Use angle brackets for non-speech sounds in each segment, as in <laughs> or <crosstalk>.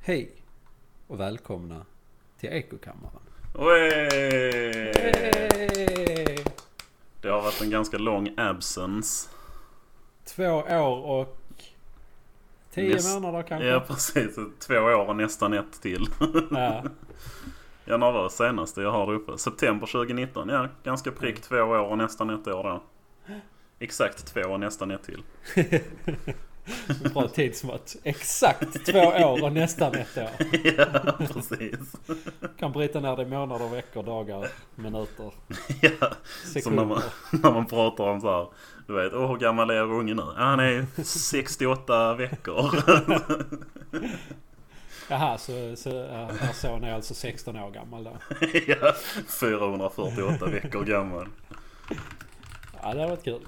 Hej och välkomna till Ekokammaren. Oj! Det har varit en ganska lång absence. Två år och tio Näst- månader kanske? Ja precis, två år och nästan ett till. <laughs> Ja. Januari var det senaste jag har det uppe. September 2019, ja ganska prick två år och nästan ett år då. Exakt två och nästan ett till. <laughs> Bra tidsmått. Exakt två år och nästan ett år. Ja precis. Kan bryta ner det i månader, veckor, dagar, minuter, Ja. Som när man, <laughs> sekunder. när man pratar om så här, du vet, åh hur gammal är er unge nu? Ah, han är 68 veckor. <laughs> Jaha, så, så ja, er son är alltså 16 år gammal då. ja, 448 veckor gammal. Ja, det har varit kul.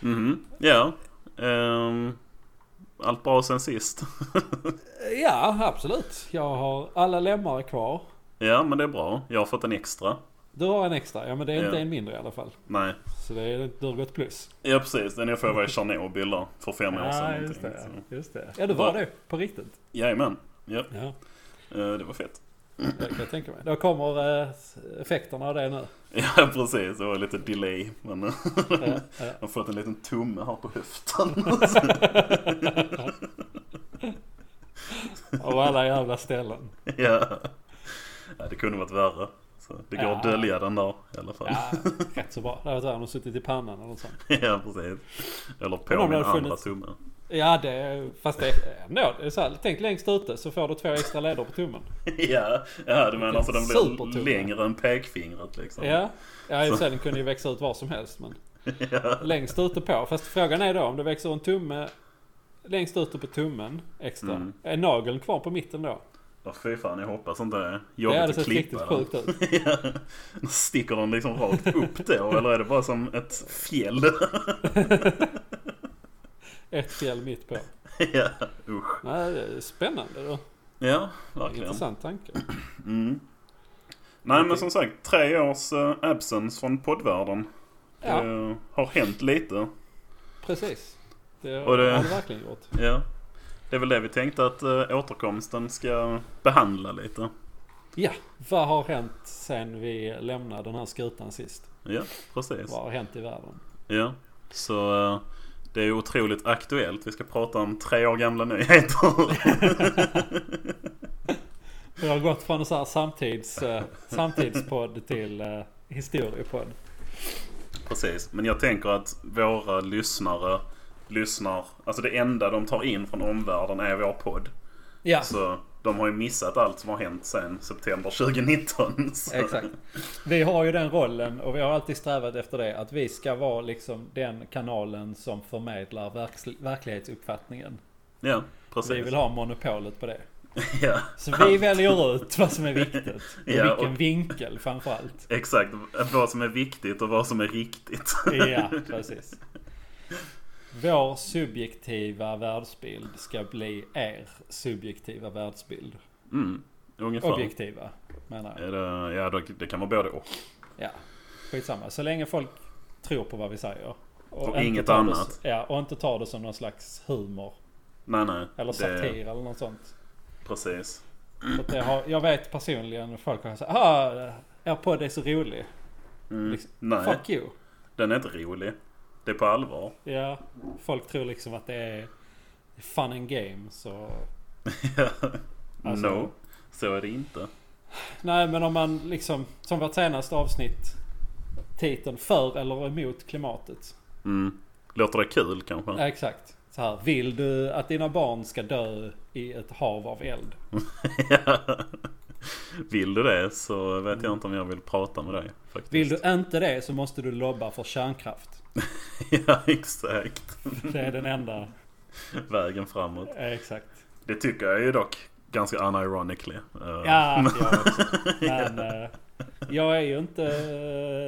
Mhm, ja. Ehm, allt bra sen sist. <laughs> Ja, absolut. Jag har alla lemmar är kvar. ja, men det är bra. Jag har fått en extra. Du har en extra. Ja, men det är inte Ja. en mindre i alla fall. Nej. Så det är, du har gått plus. Ja, precis. Den jag får var i Tjernobyl där, för fem år sedan. alltså, någonting. liksom. Så, Just det. Ja, du var Va? det. På riktigt. Jajamän. Ja, Ja, eh, det var fett. <laughs> det kan jag tänka mig. Då kommer eh, effekterna av det nu. Ja, precis. Det var lite delay. Men eh, Ja, ja. jag har fått en liten tumme här på höften. <laughs> Av alla jävla ställen. ja. ja, det kunde varit värre. Så det går att Ja. dölja den där i alla fall. Ja, rätt så bra. Det hade varit värre om de suttit i pannan eller något sånt. <laughs> ja, precis. Eller på Men om det min hade andra funnits- tumme. Ja, det, fast det är ändå. Det är så här, tänk längst ute så får du två extra leder på tummen. <laughs> Ja, ja du menar så den blir supertumme. längre än pekfingret liksom. Ja, ja i och för sig den kunde ju växa ut var som helst. <laughs> Men längst ute på. Fast frågan är då om det växer en tumme längst ute på tummen extra. Mm. Är nageln kvar på mitten då? Ja, fy fan, jag hoppas inte det. det Jobbigt hade att sett riktigt klippa den. sjukt ut. <laughs> Ja. Sticker den liksom rakt upp <laughs> då eller är det bara som ett fjäll? <laughs> Ett fjäll mitt på. ja, usch. Nej, det är spännande då. Ja, verkligen. Intressant <clears throat> tanke. Mm. Nej men som sagt, tre års eh, absence från poddvärlden. Ja, Det har hänt lite. precis. Det har Och det- det verkligen gjort. Ja. Det är väl det vi tänkte att eh, återkomsten ska behandla lite. Ja, vad har hänt sen vi lämnade den här skutan sist? Ja, precis. Vad har hänt i världen? Ja, så eh, det är otroligt aktuellt. Vi ska prata om tre år <laughs> gamla nyheter. Vi har gått från en sån här samtids, eh, samtidspodd till eh, historiepodd. Precis, men jag tänker att våra lyssnare lyssnar... Alltså det enda de tar in från omvärlden är vår podd. Ja, Så de har ju missat allt som har hänt sedan september 2019. <laughs> Så. exakt. Vi har ju den rollen och vi har alltid strävat efter det. Att vi ska vara liksom den kanalen som förmedlar verks- verklighetsuppfattningen. Ja, precis. Vi vill ha monopolet på det. <laughs> Ja, Så vi väljer ut vad som är viktigt. Och Ja, och- vilken vinkel framförallt. exakt. Vad som är viktigt och vad som är riktigt. <laughs> Ja, precis. Vår subjektiva världsbild ska bli er subjektiva världsbild. Mm, ungefär. Objektiva, menar jag. Är det, ja, det- det kan vara både och. Ja, skitsamma. Så länge folk tror på vad vi säger. Och inte inget tar annat. Det, ja, och inte tar det som någon slags humor. Nej, nej. Eller det- satir eller något sånt. Precis. För att det har, jag vet personligen folk har sagt ah, er podd är så rolig. Mm. Liksom, Nej. Fuck you. Den är inte rolig. Det är <laughs> på allvar. Ja, folk tror liksom att det är fun and games och... Alltså- no, så är det inte. Nej men om man liksom, som vårt senaste avsnitt Titeln för eller emot klimatet. Mm. Låter det kul kanske? <laughs> Ja, exakt. Så här, vill du att dina barn ska dö i ett hav av eld? Vill du det så vet jag inte om jag vill prata med dig. Faktiskt. Vill du inte det så måste du lobba för kärnkraft. <laughs> ja, exakt. Det är den enda. Vägen framåt. Ja, exakt. Det tycker jag ju dock ganska unironically. Eh, <laughs> Ja, jag också. Men eh, jag är ju inte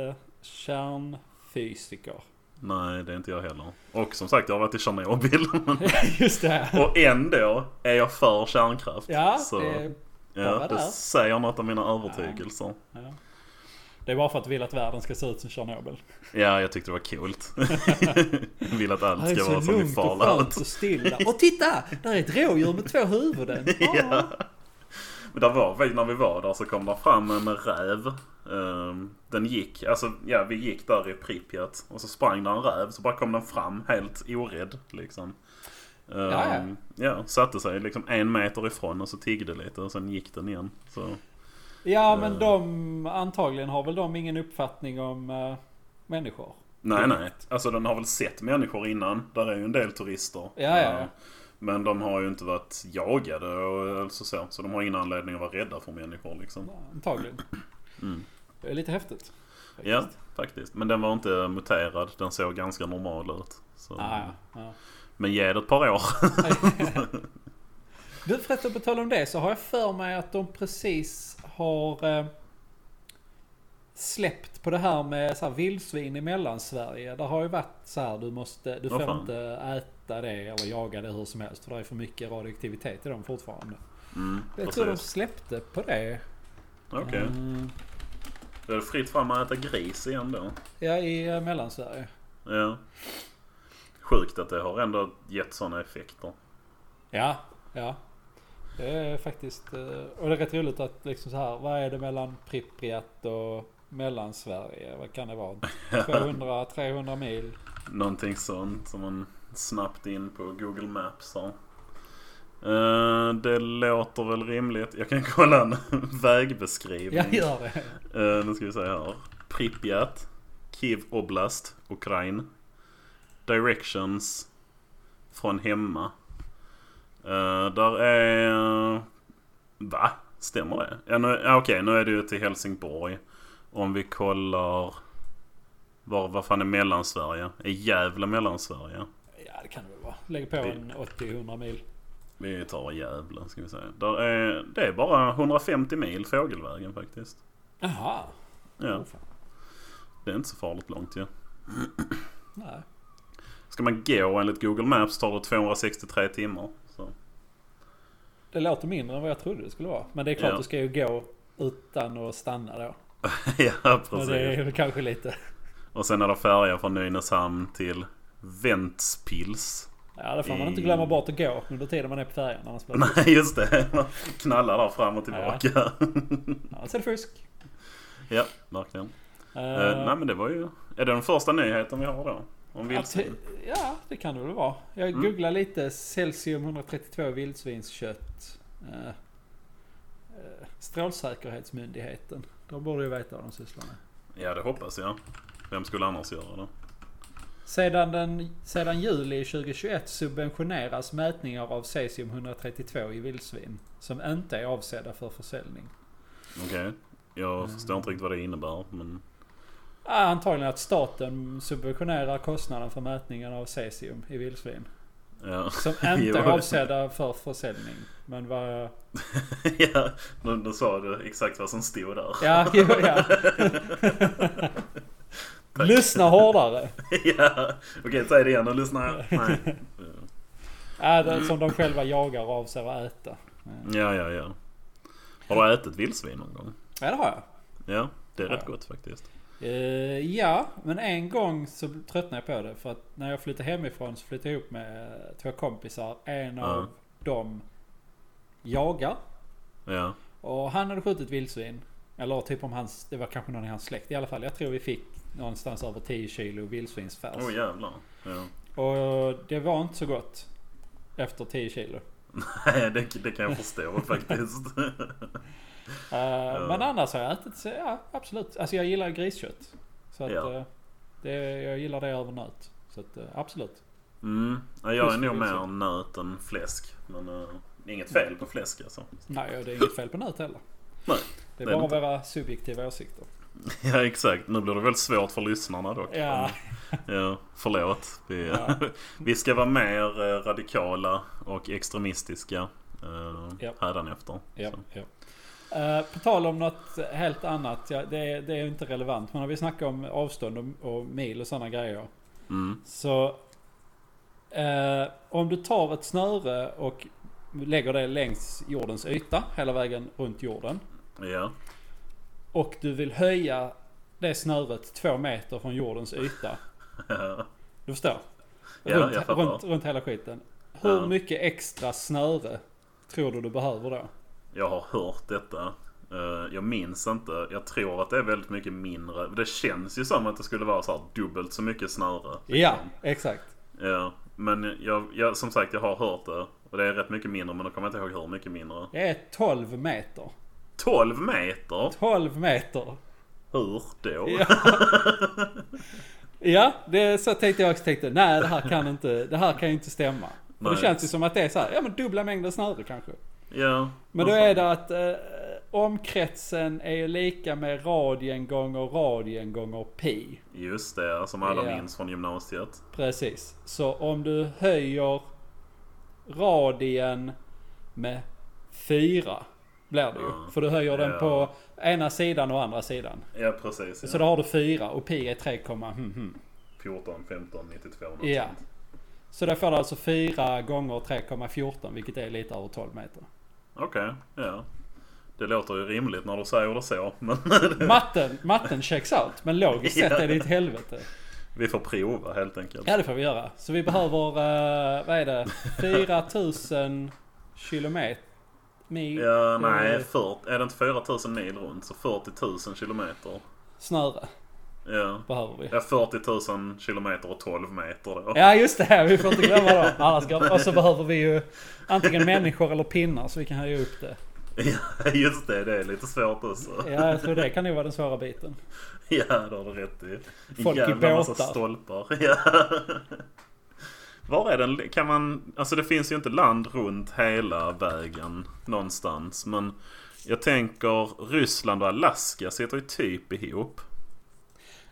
eh, kärnfysiker. <laughs> Nej, det är inte jag heller. Och som sagt, jag har varit i Tjernobyl. <laughs> Just det. här. och ändå är jag för kärnkraft. Ja, så det, ja, bara det där. säger något om mina övertygelser. ja. Det är bara för att vi vill att världen ska se ut som Tjernobyl. Ja, jag tyckte det <laughs> var coolt. Jag vill att allt Det är ska så vara som i lugnt och skönt Fallout. och <laughs> stilla. Och titta! Där är ett rådjur med två huvuden. Ja. Men där var vi, när vi var där så kom där fram en räv. Ehm, den gick, alltså ja vi gick där i Pripyat och så sprang där en räv så bara kom den fram helt orädd liksom. Ehm, Ja, ja, satte sig liksom en meter ifrån och så tiggde lite och sen gick den igen. Så. Ja men de antagligen har väl de ingen uppfattning om eh, människor. Nej, nej. Alltså den har väl sett människor innan. Där är ju en del turister. Ja, ja, ja. Eh, Men de har ju inte varit jagade och alltså så. Så de har ingen anledning att vara rädda för människor liksom. Antagligen. Det är lite häftigt. faktiskt. Mm. Ja, faktiskt. Men den var inte muterad. Den såg ganska normal ut. Så. Ah, ja, ja. Men ge det ett par år. Du förresten på tal om det så har jag för mig att de precis har eh, släppt på det här med så här vildsvin i mellansverige. Det har ju varit så här du måste, du Vad får fan? inte äta det eller jaga det hur som helst för det är för mycket radioaktivitet i dem fortfarande. Mm, Jag tror de precis. släppte på det. Okej. Mm, Då är det fritt fram att äta gris igen då. ja, i eh, mellansverige. Ja. Sjukt att det har ändå gett sådana effekter. Ja, ja. Det är faktiskt... eh, Och det är rätt roligt att liksom så här, vad är det mellan Pripyat och Mellansverige? Vad kan det <laughs> vara? 200-300 mil? Någonting sånt som man snabbt in på Google Maps här. Eh, det låter väl rimligt. Jag kan kolla en <laughs> vägbeskrivning. Jag gör det. Eh, nu ska vi se här. Pripyat, Kiev Oblast, Ukraina. Directions från hemma. Eh, där är... Va? Stämmer det? Ja, nu, ja, okej, nu är det ju till Helsingborg. Om vi kollar... Var, vad fan är Mellansverige? Är Gävle Mellansverige? Ja, det kan det väl vara. Lägg på en 80-100 mil. Vi tar Gävle ska vi säga. Där är, det är bara 150 mil fågelvägen faktiskt. Jaha. Ja, Åh, fan. det är inte så farligt långt ju. Nej. Ska man gå enligt Google Maps tar det 263 timmar. Så. <laughs> Det låter mindre än vad jag trodde det skulle vara. Men det är klart Ja. du ska ju gå utan att stanna då. ja, Men precis. det är väl kanske lite... Och sen är det färja från Nynäshamn till Ventspils. Ja, det får man inte glömma bort att gå under tiden man är på färjan. Annars blir det <laughs> Nej, just det. <laughs> Man knallar där fram och tillbaka. <laughs> Ja, annars är det fusk. verkligen. Eh, Eh, nej, men det var ju... Är det den första nyheten vi har då? Om Ja, vildsvin? te- Alltså, Ja, det kan det väl vara. Jag Mm. googlar lite Celsium 132 vildsvinskött. Eh, eh, Strålsäkerhetsmyndigheten. De borde ju veta vad de sysslar med. Ja, det hoppas jag. Vem skulle annars göra det? Sedan, den, sedan juli 2021 subventioneras mätningar av cesium 132 i vildsvin. Som inte är avsedda för försäljning. Okej. Jag förstår inte riktigt vad det innebär, men... <laughs> Ah, antagligen att staten subventionerar kostnaden för mätningen av cesium i vildsvin. Ja, <laughs> Som Jo. inte är avsedda för försäljning. Men vad... ja nu, nu sa du exakt vad som stod där. <laughs> Ja, <laughs> jo, ja. Lyssna hårdare. ja, okej säg det igen och <laughs> lyssna. Nej. Ja, Äh, det är som de själva jagar och avser att äta. Ja, ja, ja. Har du ätit vildsvin någon gång? Ja, det har jag. Ja, det är Ja. rätt gott faktiskt. Eh, ja, men en gång så tröttnade jag på det. För att när jag flyttade hemifrån så flyttade jag ihop med eh, två kompisar. En av Ja. dem jagar. Ja, Och han hade skjutit vildsvin. Eller typ om hans, det var kanske någon i hans släkt i alla fall. Jag tror vi fick någonstans över 10 kilo vildsvinsfärs. åh oh, jävlar. Ja. Och det var inte så gott. Efter 10 kilo. Nej, det, det kan jag <laughs> förstå faktiskt. Eh, Men annars har jag ätit, så ja absolut. Alltså jag gillar griskött. Så att Ja. eh, det, jag gillar det över nöt. Så att eh, absolut. Mm. Ja, jag är Just nog vildsvin. mer nöt än fläsk. Men eh, inget fel på fläsk alltså. Nej, och det är inget fel på nöt heller. Nej, det är det är bara inte. våra subjektiva åsikter. Ja, exakt. Nu blir det väl svårt för lyssnarna dock. Ja, Ja, förlåt. Vi, Ja. <laughs> vi ska vara mer eh, radikala och extremistiska eh, Ja. hädanefter. ja, Så. ja. Eh, på tal om något helt annat. Ja, det, är- det är ju inte relevant. Men när vi snackar om avstånd och, och mil och sådana grejer. Mm. Så eh, om du tar ett snöre och lägger det längs jordens yta. Hela vägen runt jorden. Ja. <laughs> och du vill höja det snöret två meter från jordens yta. Ja. Du förstår? Ja, runt, jag fattar. runt, runt hela skiten. Hur Ja. mycket extra snöre tror du du behöver då? Jag har hört detta. Eh, Jag minns inte. Jag tror att det är väldigt mycket mindre. Det känns ju som att det skulle vara så här dubbelt så mycket snöre. Ja, exakt. Ja, men jag, jag, som sagt jag har hört det. Och det är rätt mycket mindre men då kommer jag inte ihåg hur mycket mindre. Det är 12 meter. 12 meter? 12 <laughs> meter. Hur då? Ja, ja det, så tänkte jag också. Tänkte, nej, det här kan inte, det här kan ju inte stämma. För Nej. det känns ju som att det är så här, ja men dubbla mängden snöre kanske. Ja, Men vad då är fan. det att eh, omkretsen är ju lika med radien gånger radien gånger pi. Just det, som alla Ja. minns från gymnasiet. Precis. Så om du höjer radien med 4 blir det ju. Ja. För du höjer den Ja. på ena sidan och andra sidan. Ja, precis. Ja. Så då har du 4 och pi är 3, komma, hmm, hmm. 14, 15, 92 något Ja. sånt. Så där får du alltså 4 gånger 3,14 vilket är lite över 12 meter. Okej, ja. Det låter ju rimligt när du säger det så. Men <laughs> Matten, matten checks out men logiskt sett är det ett helvete. vi får prova helt enkelt. Ja det får vi göra. Så vi behöver, eh, vad är det, 4000 kilometer? Mil? Ja, nej. eh, 40, är det inte 4000 mil runt så 40 000 kilometer. Snöre Ja. behöver vi. ja, 40 000 kilometer och 12 meter då. Ja just det, vi får inte glömma dem. Annars går- Och så behöver vi ju antingen människor eller pinnar så vi kan höja upp det. <laughs> Ja, Just det, det är lite svårt också. Ja, jag tror det kan nog vara den svåra biten. Ja, det har du rätt i. Folk i Jävla massa båtar. stolpar. <laughs> Ja. Var är den? Kan man... Alltså det finns ju inte land runt hela vägen någonstans. Men jag tänker Ryssland och Alaska sitter ju typ ihop.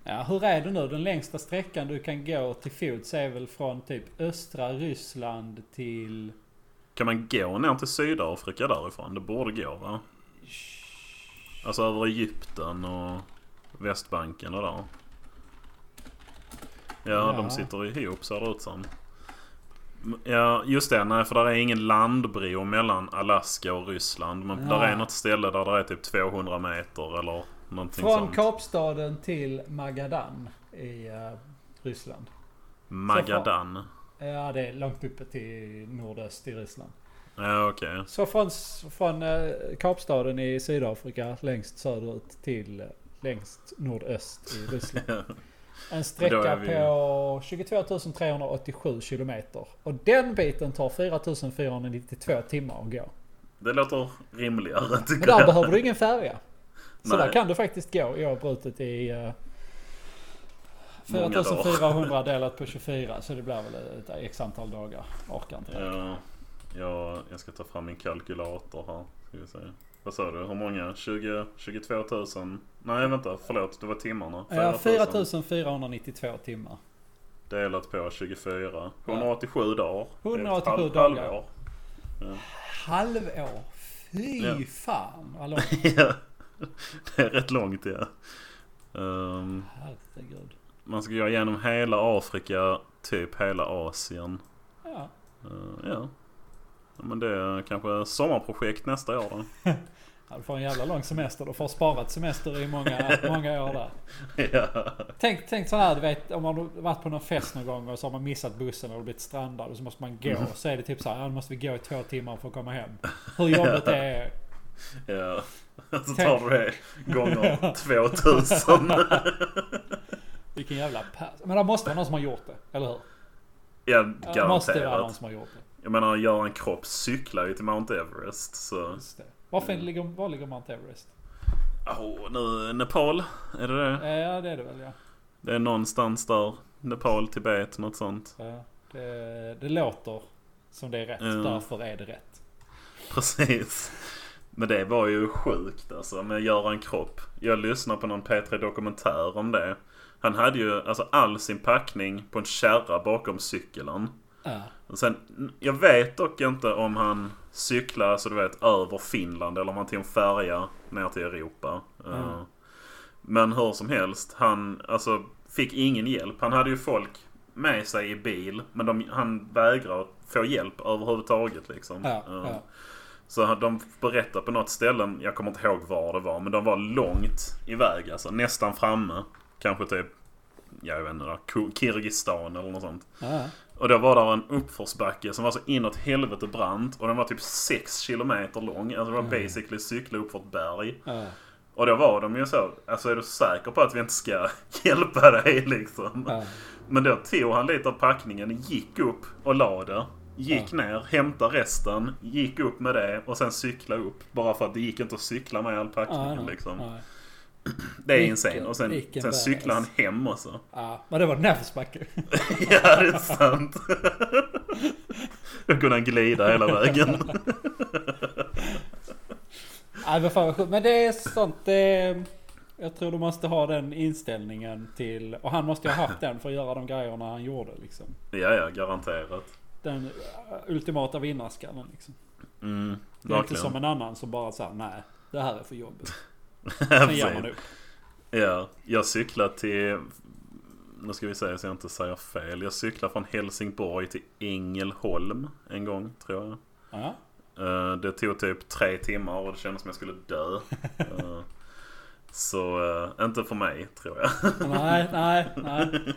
Ja, hur är det nu? Den längsta sträckan du kan gå till fots är väl från typ östra Ryssland till... Kan man gå ner till Sydafrika därifrån? Det borde gå va? Alltså över Egypten och Västbanken och där. Ja, Ja. de sitter ihop ser det ut som. M- Ja, just det. Nej, för där är ingen landbro mellan Alaska och Ryssland. Men Ja. där är något ställe där det är typ 200 meter eller någonting Från sånt. Kapstaden till Magadan i eh, Ryssland. Magadan. Ja, det är långt uppe till nordöst i Ryssland. Ja, okej. Så från, från eh, Kapstaden i Sydafrika längst söderut till eh, längst nordöst i <laughs> Ryssland. En Men då är sträcka vi- på 22 387 kilometer. Och den biten tar 4 492 timmar att gå. Det låter rimligare <laughs> Men tycker där jag. behöver du ingen färja. Så Nej. där kan du faktiskt gå oavbrutet i... Eh, Många dagar. 4400 delat på 24 så det blir väl ett x antal dagar. Orkar inte. Ja, jag, jag ska ta fram min kalkylator här. Ska vi se. Vad sa du? Hur många? 20, 22 000? Nej vänta, förlåt. Det var timmarna. Ja, 4492 timmar. Delat på 24. Ja. 187 dagar. Det är ett 187 halv- dagar. halvår. <laughs> Halvår? Fy Ja. fan vad långt. Ja, det är rätt långt ja. Ehm, Herregud. man ska gå igenom hela Afrika, typ hela Asien. Ja. Ehm, ja. ja. Men det är kanske sommarprojekt nästa år då. <laughs> Ja, Du får en jävla lång semester. Du får sparat semester i många, många år där. ja. Tänk, tänk så här, du vet om man har varit på någon fest någon gång och så har man missat bussen och blivit strandad och så måste man gå. Mm. Så är det typ så här, ja, nu måste vi gå i två timmar för att komma hem. Hur jobbigt det är. Ja, <laughs> så tar du det <laughs> gånger 2000. Vilken jävla pass. Men det måste vara någon som har gjort det, eller hur? Ja, Det måste vara någon garanterat. som har gjort det. Jag menar, Göran Kropp cyklar ju till Mount Everest. Så... Just det. Varför ligger, var ligger Mount Everest? Åh, nu Nepal, är det det? Ja, det är det väl ja. Det är någonstans där. Nepal, Tibet, något sånt. <laughs> Ja, Det, det låter som det är rätt. Ja. Därför är det rätt. Precis. Men det var ju sjukt alltså med Göran Kropp. Jag lyssnade på någon P3 Dokumentär om det. Han hade ju alltså all sin packning på en kärra bakom cykeln. Ja. Och Sen, jag vet dock inte om han cyklar så du vet över Finland eller om han tog en färja ner till Europa. Eh, Mm. Men hur som helst, han alltså, fick ingen hjälp. Han hade ju folk med sig i bil men de, han vägrar få hjälp överhuvudtaget. Liksom. Ja, Eh, ja. Så de berättar på något ställe, jag kommer inte ihåg var det var, men de var långt iväg alltså. Nästan framme. Kanske typ, jag vet inte, Ku- Kirgizistan eller något sånt. Ja. Och då var där en uppförsbacke som var så inåt helvete brant. Och den var typ 6 kilometer lång. Alltså det var Mm. basically cykla upp för ett berg. Ja. Och då var de ju så, alltså är du säker på att vi inte ska <laughs> hjälpa dig liksom? Ja. Men då tog han lite av packningen, gick upp och la det. Gick ner, hämtade resten, gick upp med det och sen cykla upp. Bara för att det gick inte att cykla med all Ja, packningen nej, liksom. nej. Det är Vilken- insane. Och sen, vilken sen cyklade han badass. hem också. Ja, men det var <laughs> nerfsbacke. ja, det är sant. då kunde han glida hela vägen. Nej men fan vad sjukt. Men det är sånt. Det, jag tror du måste ha den inställningen till. Och han måste ju ha haft den för att göra de grejerna han gjorde liksom. ja, ja, garanterat. Den äh, ultimata vinnarskallen liksom. Mm, Det är inte verkligen. som en annan som bara säger nej. Det här är för jobbigt. <laughs> Ja, Sen ger precis. man upp. Ja, jag cyklar till... Nu ska vi säga så jag inte säger fel. Jag cyklar från Helsingborg till Ängelholm en gång, tror jag. Ja. Eh, Det tog typ tre timmar och det kändes som jag skulle <laughs> dö. Eh, Så eh, inte för mig, tror jag. Nej, nej, nej. Eh,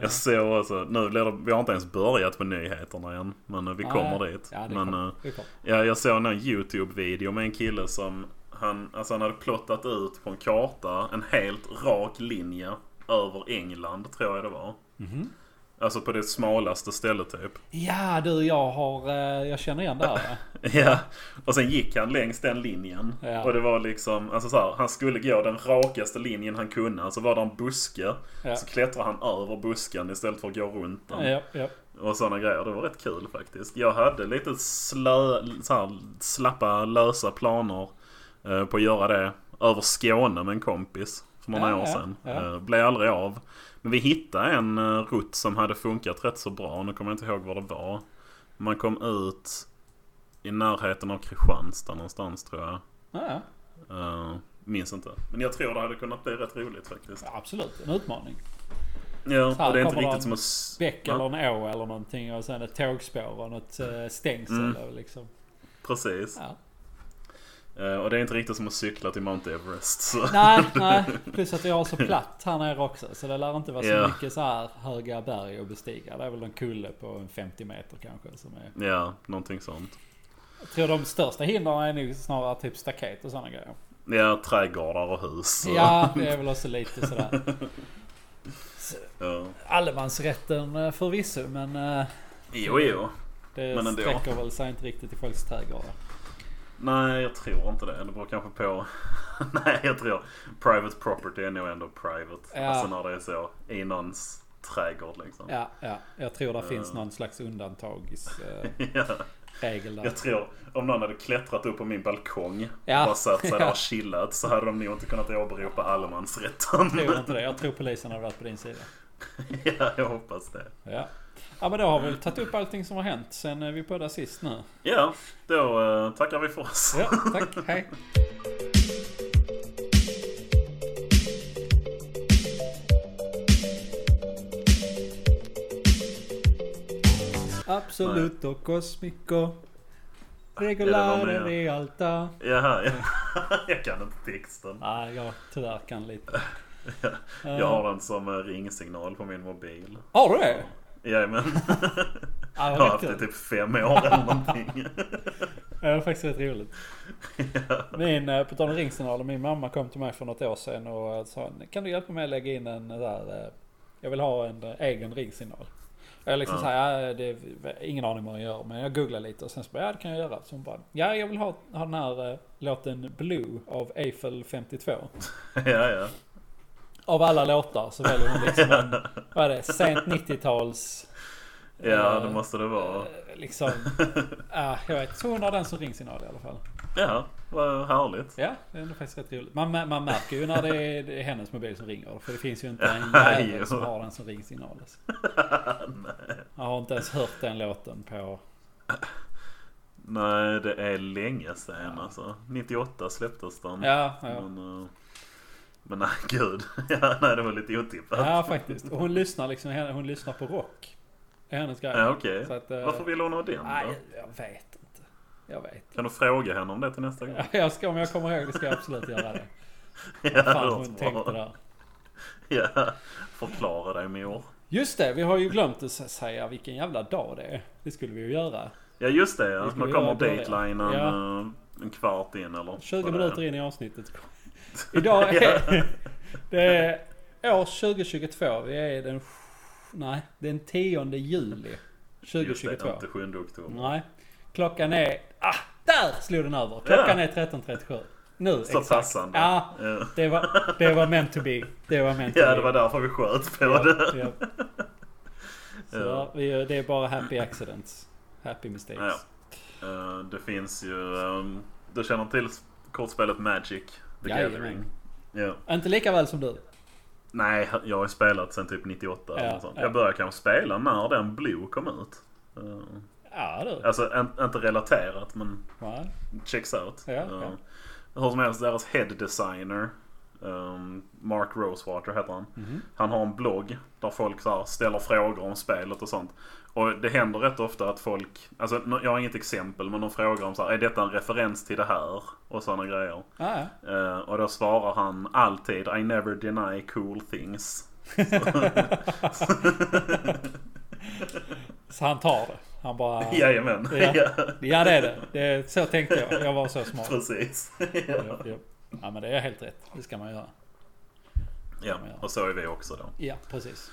<laughs> Jag såg alltså, nu blir det, vi har inte ens börjat med nyheterna än. Men eh, <laughs> vi Nej. kommer dit. Ja, det men, kommer. eh, det kommer. Ja, jag såg någon YouTube-video med en kille som han, alltså han hade plottat ut på en karta en helt rak linje över England, tror jag det var. Mhm. Alltså på det smalaste <laughs> stället typ. Ja du, jag har... eh, Jag känner igen det här. <laughs> va? Ja, och sen gick han längs den linjen. Ja. Och det var liksom, alltså så här, han skulle gå den rakaste linjen han kunde. Så var det en buske. Ja. Så klättrade han över busken istället för att gå runt den. Ja, ja. Och sådana grejer. Det var rätt kul faktiskt. Jag hade lite slö, så här, slappa, lösa planer eh, på att göra det över Skåne med en kompis för några Ja, år ja, sedan. ja. Eh, blev aldrig av. Men vi hittade en eh, rutt som hade funkat rätt så bra. Nu kommer jag inte ihåg var det var. Man kom ut i närheten av Kristianstad någonstans tror jag. Ja, ja. Eh, minns inte. Men jag tror det hade kunnat bli rätt roligt faktiskt. Ja, Absolut, en utmaning. Så Ja, här och det är inte kommer riktigt de som att... s- Bäck Ja, eller en å eller någonting och sen ett tågspår och något eh, stängsel. Mm. och Liksom. Precis. Ja. Eh, Och det är inte riktigt som att cykla till Mount Everest. Så. Nej, nej. Plus att vi har så platt här nere också. Så det lär inte vara så Ja. mycket så här höga berg att bestiga. Det är väl en kulle på en 50 meter kanske. Som är. <laughs> Ja, någonting sånt. Jag tror de största hindren är nog snarare typ staket och sådana grejer. Ja, trädgårdar och hus. och- Ja, det är väl också lite sådär. Så, Ja. Allemansrätten eh, förvisso, men eh, Jo, jo. det Men ändå. sträcker väl sig inte riktigt i folks trädgårdar. Nej, jag tror inte det. Det beror kanske på. <laughs> Nej, jag tror private property är nog ändå private. Ja. Alltså när det är så i någons trädgård liksom. Ja, ja. Jag tror det Eh. finns någon slags undantagsregel <laughs> Ja. <laughs> där. Jag tror om någon hade klättrat upp på min balkong och <laughs> Ja. bara satt sig där och chillat så hade de nog inte kunnat åberopa allemansrätten. Jag tror inte det. Jag tror polisen har varit på din sida. <laughs> ja, jag hoppas det. Ja. Ja men då har vi väl tagit upp allting som har hänt sen eh, vi poddade sist nu. Ja, då eh, tackar vi för oss. Ja, tack. Hej. Absolut och Cosmico. Ja, det var Regulare med. Realta. Jaha, ja. <laughs> jag kan inte texten. Nej, jag tyvärr kan <laughs> lite. Jag har den som eh, ringsignal på min mobil. Har du det? Jajamän. Ja, <laughs> Jag vad har haft det riktigt. typ fem år eller någonting. <laughs> Ja, det var faktiskt rätt roligt. Min, eh, på tal om ringsignalen, min mamma kom till mig för något år sedan och eh, sa Kan du hjälpa mig att lägga in en eh, där eh, Jag vill ha en eh, egen ringsignal. Och Jag liksom Ja. ja. såhär, ja, det är ingen aning vad jag gör men jag googlar lite och sen så bara, ja det kan jag göra. Så hon bara, ja jag vill ha, ha den här eh, låten Blue av Eiffel 52. ja, ja. Av alla låtar så väljer hon liksom <laughs> en, vad är det, sent 90-tals Ja, Eh, det måste det vara. eh, <laughs> liksom, ja jag vet, så hon har den som ringsignal i alla fall. Ja, vad härligt. Ja, det är ändå faktiskt rätt roligt. Man, mär- man märker ju när det är, det är hennes mobil som ringer. För det finns ju inte <laughs> en Ja, jo. jävel som har den som <laughs> ringsignal. Alltså. Jag har inte ens hört den låten på... Nej, det är länge sedan alltså. 98 släpptes den. Ja, ja. Men, eh, men nej, gud. <laughs> ja, nej, det var lite otippat. ja faktiskt. Och hon lyssnar liksom hon lyssnar på rock. Det är hennes grej. Ja, okej. Så att, eh, Varför ville hon ha den då? Nej, jag vet inte. Jag vet. Kan du fråga henne om det till nästa gång? Ja, Jag ska, om jag kommer ihåg det ska jag absolut göra det. <laughs> Ja, Vad fan låter hon tänkte där. Ja, förklara dig mor. Just det, vi har ju glömt att säga vilken jävla dag det är. Det skulle vi ju göra. Ja just det, Det ja. ska man vi kommer göra i början. datelinen Ja. eh, en kvart in eller 20 vad det är. minuter in i avsnittet. <laughs> Idag är <laughs> det är år 2022. Vi är den... sj- Nej, den 10 juli Just det, 2022. inte 7 oktober. Nej. Klockan är... Ah! Där slog den över. Klockan är 13.37. Nu Så exakt. passande. Ja, Ja. det var, det var meant to be. Det var meant to <laughs> Ja, be. det var därför vi sköt på det. Ja, ja. Ja. Så vi, det är bara happy accidents. Happy mistakes. Ja. Eh, det finns ju... ehm, du känner till kortspelet Magic the Jajamän. Gathering? Ja. Inte lika väl som du. Nej, jag har ju spelat sen typ 98 eller Ja, något sånt. ja. Jag började kanske spela när den Blue kom ut. Eh, Ja du. alltså en, inte relaterat men Ja. checks out. Ja, Eh, ja. Hur som helst, deras head designer ehm, Mark Rosewater heter han. Mhm. Han har en blogg där folk så här ställer frågor om spelet och sånt. Och det händer rätt ofta att folk, alltså nå- jag har inget exempel men de frågar om så här, är detta en referens till det här? Och sådana grejer. Ja, ja. Eh, och då svarar han alltid I never deny cool <laughs> things. <laughs> Så han tar det. Han bara... Jajamän. Ja. <laughs> Ja. Ja det är det. det är, så tänkte jag. Jag var så smart. Precis. <laughs> ja. Ja, ja. ja men det är helt rätt. Det ska man göra. ja, och så är vi också då. Ja precis.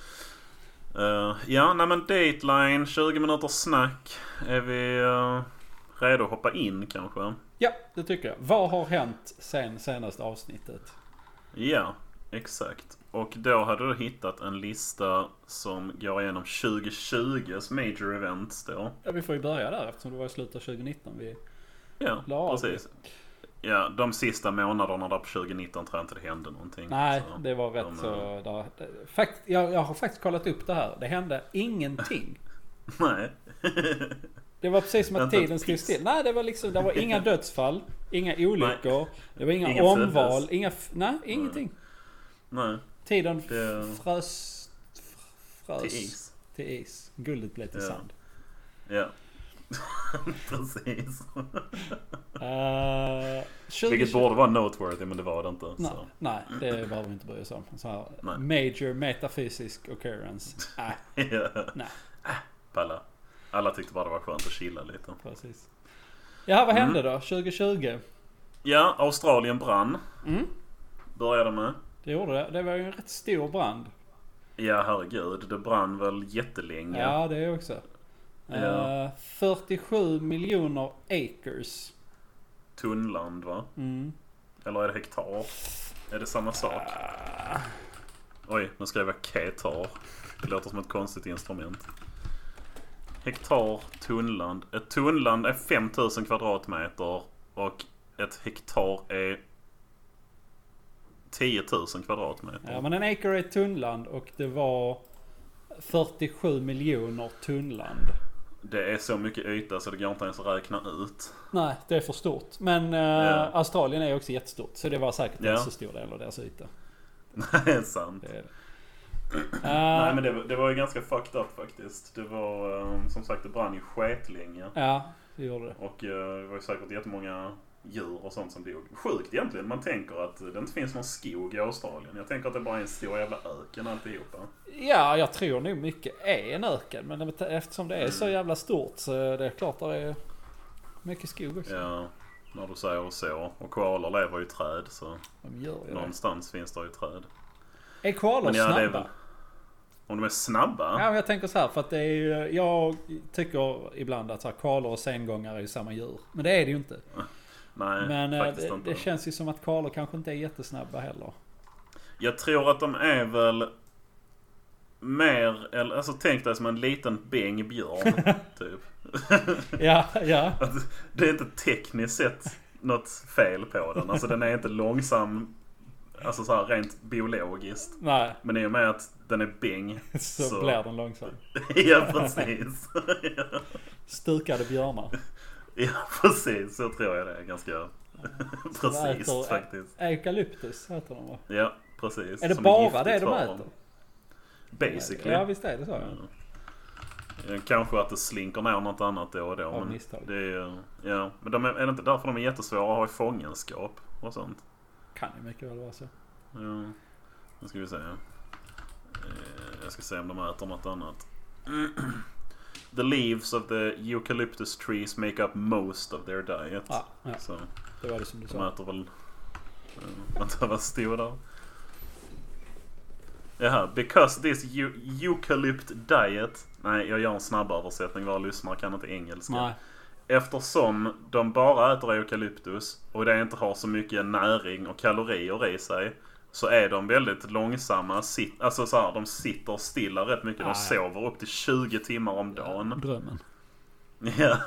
Eh, ja, nej men Dateline, 20 minuters snack. Är vi eh, redo att hoppa in kanske? Ja det tycker jag. Vad har hänt sen senaste avsnittet? Ja, exakt. Och då hade du hittat en lista som går igenom 2020s major events då. Ja, vi får ju börja där eftersom det var i slutet av 2019 vi Ja, la av. precis. Ja, de sista månaderna där på 2019 tror jag inte det hände någonting. Nej, Så. det var rätt de, så... Där, fakt, jag, jag har faktiskt kollat upp det här. Det hände ingenting. <laughs> Nej. <laughs> Det var precis som att Inte ett tiden stod piss. still. Nej, det var liksom... Det var inga <laughs> dödsfall. Inga olyckor. Det var inga Ingen omval. föddes. Inga... f- Nej, ingenting. Nej, Tiden f- Det- frös... f- Frös... Eh, till is. Till is. Guldet blev till Ja. sand. Ja. <laughs> precis. Eh, 20, Vilket borde vara noteworthy men det var det inte. Nej, Så. nej, det behöver vi inte bry oss om. Så här, Nej. major metafysisk occurrence. Nej, Ja. Ah, Nej. Palla. Alla tyckte bara det var skönt att chilla lite. precis. Jaha, vad hände Mm. då? 2020? Ja, Australien brann. Mm. Började med. Det gjorde det. Det var ju en rätt stor brand. Ja, herregud. Det brann väl jättelänge. Ja, det är också. Mm, Ja. Eh, 47 miljoner acres. Tunnland, va? Mm. Eller är det hektar? Är det samma sak? Ah. Oj, nu skrev jag ketar. Det låter som ett konstigt instrument. Hektar, tunnland. Ett tunnland är 5000 kvadratmeter och ett hektar är 10 000 kvadratmeter. Ja, men en acre är ett tunnland och det var 47 miljoner tunnland. Det är så mycket yta så det går inte ens att räkna ut. <laughs> Nej, det är för stort. Men eh, Ja. Australien är också jättestort. Så det var säkert Ja. en så stor del av deras yta. Det är sant. Det <clears throat> är det. Nej Eh, men det, det var ju ganska fucked up faktiskt. Det var eh, som sagt det brann ju skitlänge. Ja, det gjorde det. Och eh, det var ju säkert jättemånga djur och sånt som dog. Sjukt egentligen. Man tänker att det inte finns någon skog i Australien. Jag tänker att det bara är en stor jävla öken alltihopa. Ja, jag tror nog mycket är en öken. Men det- eftersom det är så jävla stort så är det är klart det är mycket skog också. Ja, när du säger så. Och koalor lever ju i träd så De gör ju det. någonstans finns det ju träd. Är koalor Men ja, det är snabba? väl... Om de är snabba? Ja, men jag tänker så här för att det är ju, jag tycker ibland att så här, koalor och sengångare är ju samma djur. Men det är det ju inte. Nej, Men eh, faktiskt det, inte. det känns ju som att koalor kanske inte är jättesnabba heller. Jag tror att de är väl mer... Eller, alltså tänk dig som en liten <laughs> bängbjörn, typ. <laughs> Ja, ja. Att det är inte tekniskt sett något fel på den. Alltså den är inte långsam alltså så här rent biologiskt. Nej, Men i och med att den är bäng. <laughs> så, Så. blir den långsam. ja precis. <laughs> Stukade björnar. ja precis, så tror jag det är ganska. precis äter- faktiskt. Eukalyptus heter de va? Ja precis. Är det Som bara giftigt det de för dem. äter? Basically. Ja, visst är det så. Ja. Eh, Kanske att det slinker ner något annat då och då. Av Men, misstag. det är, ju- ja. men de är, är det inte därför de är jättesvåra att ha i fångenskap och sånt? Kan ju mycket väl vara så. Ja. Nu ska vi se. Eh, Jag ska se om de äter något annat. <clears throat> the leaves of the eucalyptus trees make up most of their diet. Ja, ja, Så det var det som du de sa. äter väl... eh, Vänta, vad stod där? Jaha, because this eu- eucalypt diet... Nej, jag gör en snabb översättning. Våra lyssnare kan inte engelska. Nej, Eftersom de bara äter eukalyptus och det inte har så mycket näring och kalorier i sig så är de väldigt långsamma. Sit- alltså så här, de sitter stilla rätt mycket. Ah, De ja. sover upp till 20 timmar om dagen. <laughs> drömmen. Ja.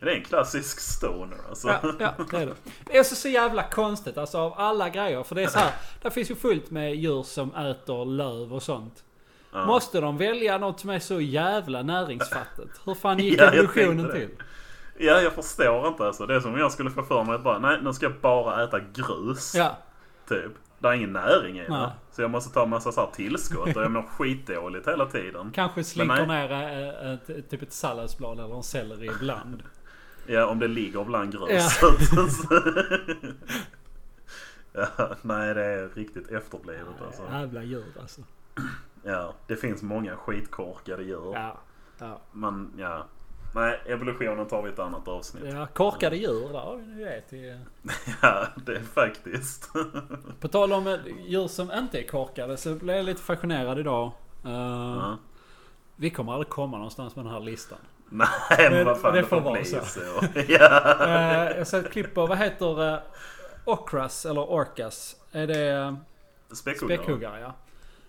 Det är en klassisk stoner alltså. Ja, ja, det är det. Det är så, så jävla konstigt alltså av alla grejer. För det är så här, där finns ju fullt med djur som äter löv och sånt. Ja. Måste de välja något som är så jävla näringsfattigt? Hur fan gick <laughs> Ja, jag evolutionen tänkte det. till? ja, jag förstår inte alltså. Det är som om jag skulle få för mig att bara, nej, nu ska jag bara äta grus. Ja, Typ. Det är ingen näring i Nej. det. Så jag måste ta massa så här tillskott och jag mår skitdåligt hela tiden. kanske slinker nej. ner eh, eh, t- typ ett salladsblad eller en selleri ibland. Ja, om det ligger bland grus. Ja. <laughs> ja, nej, det är riktigt efterblivet alltså. Jävla djur alltså. Ja, det finns många skitkorkade djur. Ja. Ja. Men ja. Nej, evolutionen tar vi i ett annat avsnitt. ja, korkade djur där har vi nu det till... <laughs> Ja, det är faktiskt. På tal om eh, djur som inte är korkade så blev jag lite fascinerad idag. Eh, Ja. Vi kommer aldrig komma någonstans med den här listan. Nej, Men men vad fan det det, får får vara bli så. så. <laughs> ja. Eh, jag såg ett klipp på, vad heter uh, Okras eller Orcas? Är det eh, Späckhuggare. späckhuggare? Ja.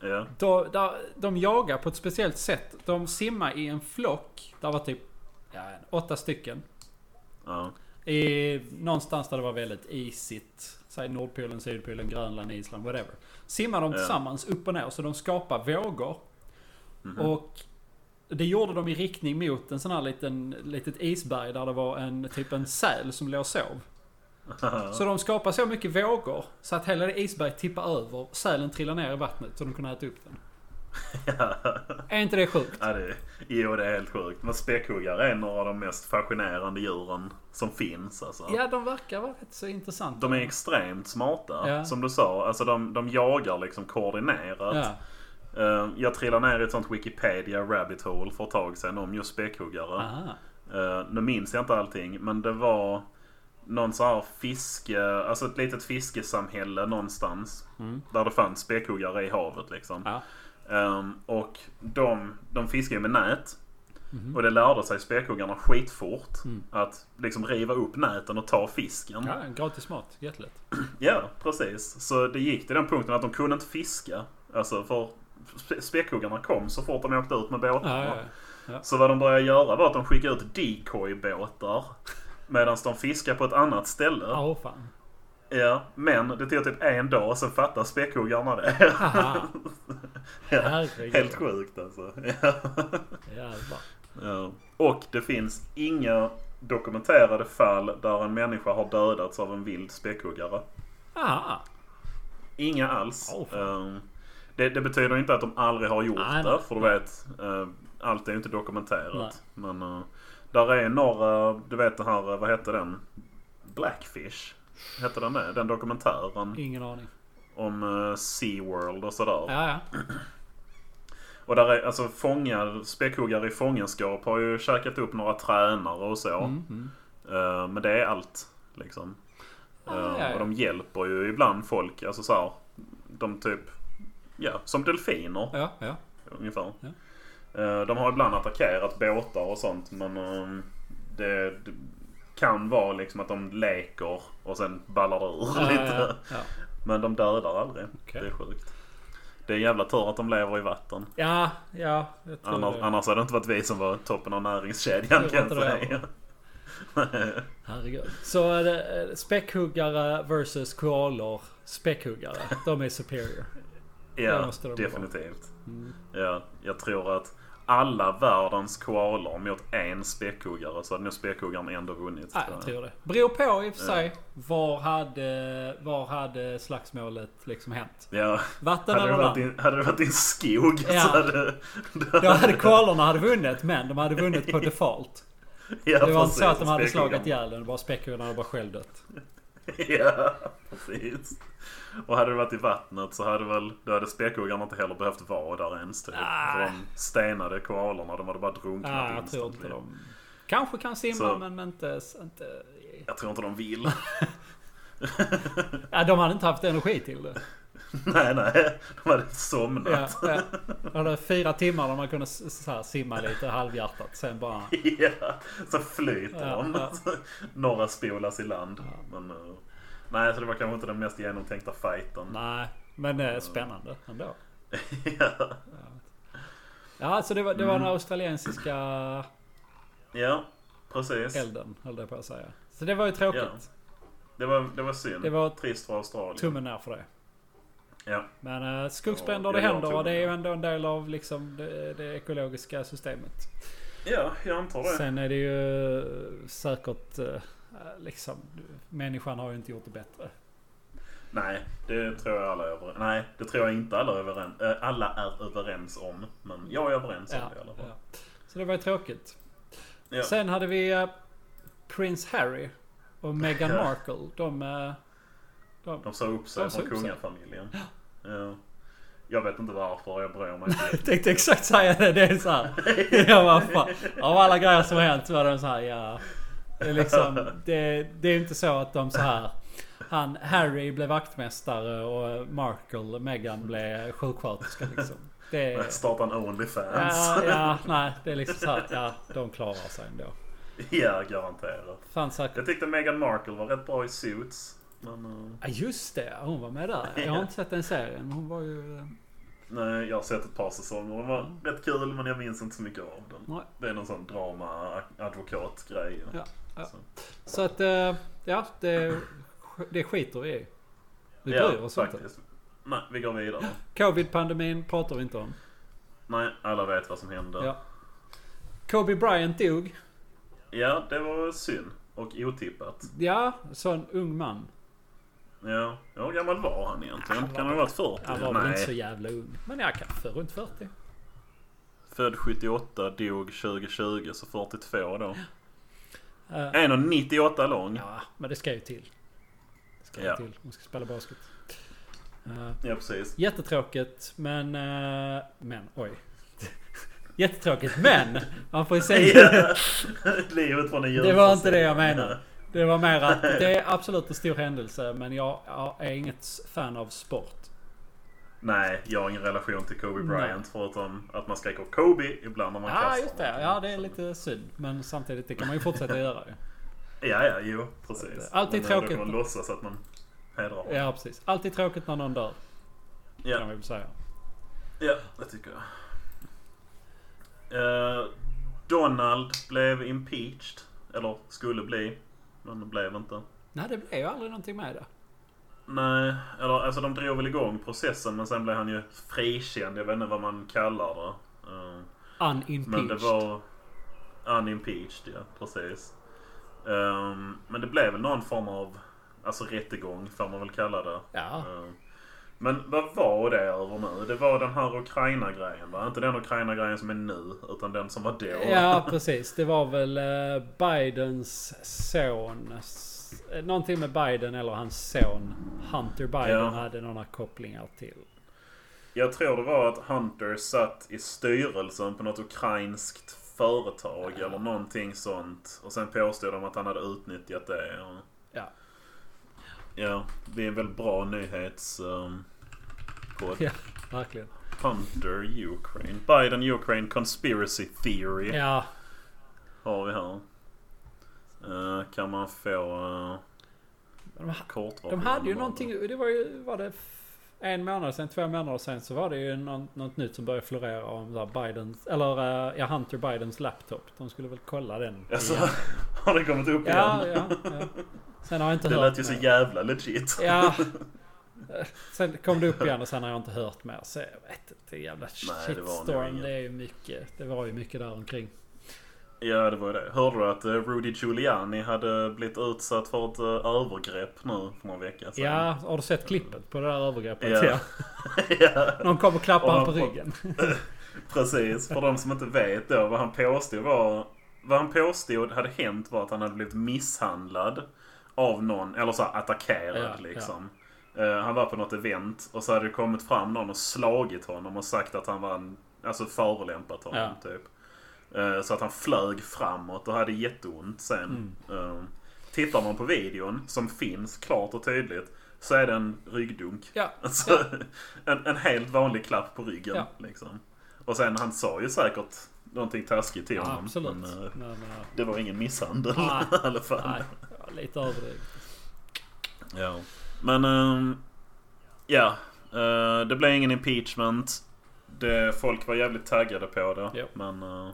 Ja. De, där, de jagar på ett speciellt sätt. De simmar i en flock. Där var typ ja, åtta stycken. Ja. <laughs> I, någonstans där det var väldigt isigt. Säg Nordpolen, Sydpolen, Grönland, Island, whatever. Simmar de Ja. tillsammans upp och ner så de skapar vågor. Mhm. Och det gjorde de i riktning mot en sån här liten, litet isberg där det var en typ en säl som låg och sov. Så de skapar så mycket vågor så att hela det isberget tippar över. Sälen trillar ner i vattnet så de kunde äta upp den. Är inte det sjukt? Ja, det, jo, det är helt sjukt. Men späckhuggare är några av de mest fascinerande djuren som finns. Alltså. Ja, de verkar vara rätt så intressanta. De är extremt smarta, Ja. som du sa. Alltså de, de jagar liksom koordinerat. ja. Eh, jag trillade ner i ett sånt Wikipedia rabbit hole för ett tag sedan om just späckhuggare. Aha. Eh, nu minns jag inte allting, men det var någon sån här fiske, alltså ett litet fiskesamhälle någonstans. Där det fanns späckhuggare i havet liksom. Mm. Ja. Ehm, och de, de fiskar ju med nät. Mm-hmm. Och det lärde sig späckhuggarna skitfort. Att liksom riva upp näten och ta fisken. Mm. ja, gratis mat. Jättelätt. Ja, precis. Så det gick till den punkten att de kunde inte fiska. Alltså för spe- späckhuggarna kom så fort de åkte ut med båtarna. Ja, ja, ja. Så vad de började göra var att de skickade ut decoy-båtar. Medan de fiskade på ett annat ställe. Ja, åh, fan. Ja, men det tog typ en dag och sen fattade späckhuggarna det. Aha. Herregud. <laughs> Helt sjukt alltså. Ja. Jävlar. Ja. Och det finns inga dokumenterade fall där en människa har dödats av en vild späckhuggare. Aha. Inga alls. Åh, fan. Ehm, det, det betyder inte att de aldrig har gjort Nej, nej. det. För du vet, eh, allt är ju inte dokumenterat. Men eh, där är några, du vet den här, eh, vad hette den? Blackfish? Hette den det? Den dokumentären Ingen aning. om eh, SeaWorld och sådär. Ja, ja. Och där är, alltså fångar, späckhuggare i fångenskap har ju käkat upp några tränare och Mm. så. Eh, men det är allt. Liksom. Ah, Eh, ja, ja. Och de hjälper ju ibland folk. Alltså så här, De typ, ja, som delfiner Ja, ja. ungefär. Ja. Eh, De har ibland attackerat båtar och sånt men eh, det, det kan vara liksom att de leker och sen ballar det ur Ah, Ja, lite. ja, ja. Men de dödar aldrig. Okej. Det är sjukt. Det är en jävla tur att de lever i vatten. Ja, ja. Jag tror Annars, det. annars hade det inte varit vi som var toppen av näringskedjan Jag kan jag tror inte det säga. Herregud. Så är det eh, späckhuggare versus koalor. Späckhuggare. <laughs> De är superior. Det Ja, måste de vara. Mm. definitivt. Ja, jag tror att alla världens koalor mot en späckhuggare så hade nog späckhuggaren ändå vunnit. Nej, jag tror det. Beror på i och för sig. Var hade, var hade slagsmålet liksom hänt? Ja. Vatten Hade det, eller varit land? i, hade det varit i en skog Ja. så hade... Då hade koalorna hade vunnit men de hade vunnit <laughs> på default. ja, Det var inte precis, så att de hade späckhuggaren. slagit ihjäl den. Bara späckhuggarna hade bara själv dött. <laughs> Ja, precis. Och hade det varit i vattnet så hade väl... Då hade späckhuggarna inte heller behövt vara där ens typ. Nej. För de stenade koalorna. De hade bara drunknat Nej, jag tror instantly. inte de... Kanske kan simma Så- men men inte... inte Jag tror inte de vill. <laughs> ja, de hade inte haft energi till det. nej, nej. De hade somnat. Ja, <laughs> ja. De hade fyra timmar där man kunde s- så här, simma lite halvhjärtat. Sen bara... Ja, så flyter Ja, de. ja. <laughs> Några spolas i land. Men, eh, nej, så det var kanske inte den mest genomtänkta fighten. Nej, men eh, spännande ändå. <laughs> ja. Ja, alltså det var, det var Mm. den australiensiska ja, precis. elden, höll jag på att säga. Så det var ju tråkigt. Ja. Det var, det var synd. Det var Trist för Australien. Tummen ner för det. Ja, Men eh, skogsbränder, Ja, det jag händer tror och det är ju det. ändå en del av liksom det, det ekologiska systemet. ja jag antar det. Sen är det ju säkert eh, liksom människan har ju inte gjort det bättre. Nej, det tror jag alla är överens Nej, det tror jag inte alla är överens, eh, alla är överens om. Men jag är överens om Ja, det i alla fall. ja. Så det var ju tråkigt. Ja. Sen hade vi eh, Prins Harry och Meghan <laughs> Ja. Markle. De, eh, de, De sa upp sig De sa från upp sig. kungafamiljen. Ja. Jag vet inte varför, jag bryr mig inte. Jag eh, <laughs> tänkte exakt säga det. Det är så här. <laughs> Jag bara, fan. Av alla grejer som har hänt så var det så här, ja. Det är, liksom, det, det är ju inte så att de så här. Han, Harry blev vaktmästare och Markle, Meghan blev sjuksköterska liksom. Det är, <laughs> Starta en Onlyfans. ja, ja, nej. Det är liksom så här, ja. De klarar sig ändå. <laughs> Ja, garanterat. Fan säkert. Jag tyckte Meghan Markle var rätt bra i Suits. Men eh, Ja just det, hon var med där. <laughs> Jag har inte sett den serien. men Hon var ju... eh, nej, jag har sett ett par säsonger. Den var rätt kul men jag minns inte så mycket av den. Mm. Nej. Det är någon sån drama-advokat-grej. Ja, ja. Så. Så att, eh, ja. Det, det skiter vi i. Vi Ja, bryr oss inte. faktiskt. Nej, vi går vidare. Covid-pandemin pratar vi inte om. Nej, alla vet vad som hände. Ja. Kobe Bryant dog. Ja, det var synd. Och otippat. Ja, så en ung man. Ja, hur gammal var han egentligen? Han var- kan han ha varit 40? Han var väl inte så Nej. jävla ung. Men jag kanske runt 40. Född 78, dog 2020, så 42 då. Eh, 1,98 lång. ja, men det ska ju till. Det ska ju Ja. till. Hon ska spela basket. Eh, <laughs> Ja, precis. jättetråkigt, men... eh, men, oj. <laughs> jättetråkigt, men! Man får ju säga... <laughs> Livet från en Det var inte det djurförsök. jag menade. Det var mer att det är absolut en stor händelse, men jag, jag är inget fan av sport. Nej, jag har ingen relation till Kobe Nej. Bryant förutom att man skriker Kobe ibland när man Ja, kastar just det. någonting. Ja, det är lite synd. Men samtidigt, det kan man ju fortsätta göra ju. Ja, ja, jo, precis. Alltid Men, eh, tråkigt. Då kan man låtsas att man hedrar. Ja, Ja, precis. Alltid tråkigt när någon dör, kan ja, man väl säga. ja det tycker jag. Eh, Donald blev impeached. Eller skulle bli. Men blev inte. Nej, det blev ju aldrig någonting med det. Nej, eller alltså de drog väl igång processen men sen blev han ju frikänd. Jag vet inte vad man kallar det. Eh, Men Unimpeached. det var unimpeached, ja precis. Ehm, men det blev väl någon form av alltså rättegång får man väl kalla det. Ja. Ehm, men vad var det över nu? Det var den här Ukraina-grejen va? Inte den Ukraina-grejen som är nu utan den som var då. ja, precis. Det var väl eh, Bidens son. S- eh, Någonting med Biden eller hans son. Hunter Biden Ja. hade några kopplingar till. Jag tror det var att Hunter satt i styrelsen på något ukrainskt företag eller någonting sånt. Och sen påstod de att han hade utnyttjat det. och- Ja. Ja, det är en väldigt bra nyhets... Um, podd. Ja, verkligen. Hunter Ukraine. Biden Ukraine Conspiracy Theory Ja, har vi här. Eh, kan man få uh, de, ha- de kortversionen hade ju av det? någonting. Det var ju... Var det f- en månad sen, två månader sen så var det ju någon, något nytt som började florera om där Bidens, eller eh, ja, Hunter Bidens laptop. De skulle väl kolla den. Alltså, <laughs> igen. har det kommit upp Ja, igen? ja, ja. Sen har jag inte Det hört lät ju så mer. jävla legit. Ja. Eh, Sen kom det upp igen och sen har jag inte hört mer. Så jag vet inte. Jävla Nej, det var nog shitstorm. ingen. Det, är ju mycket. Det var ju mycket där omkring. Ja, det var ju det. Hörde du att eh, Rudy Giuliani hade blivit utsatt för ett eh, övergrepp nu för några veckor sedan? Ja, har du sett klippet på det där övergreppet? Alltså- Ja. Ja. <laughs> ja. Någon kom och klappade Och honom han på får- ryggen. Precis, för de som inte vet då vad han påstod var... Vad han påstod hade hänt var att han hade blivit misshandlad av någon, eller så här, attackerad Ja, liksom. Eh, han var på något event och så hade det kommit fram någon och slagit honom och sagt att han var en... Alltså förolämpat honom typ. Eh, så att han flög framåt och hade jätteont sen. Mm. Eh, tittar man på videon, som finns klart och tydligt, så är det en ryggdunk. Ja, Alltså, en, en helt vanlig klapp på ryggen. Ja. Liksom. Och sen han sa ju säkert någonting taskigt till ja honom. absolut. Men, eh, Men, eh, det var ingen misshandel Nej. <laughs> i alla fall. nej, det var lite överdrivet. Ja. Men ehm, ja, eh, det blev ingen impeachment. Det, folk var jävligt taggade på det. Ja. Men uh,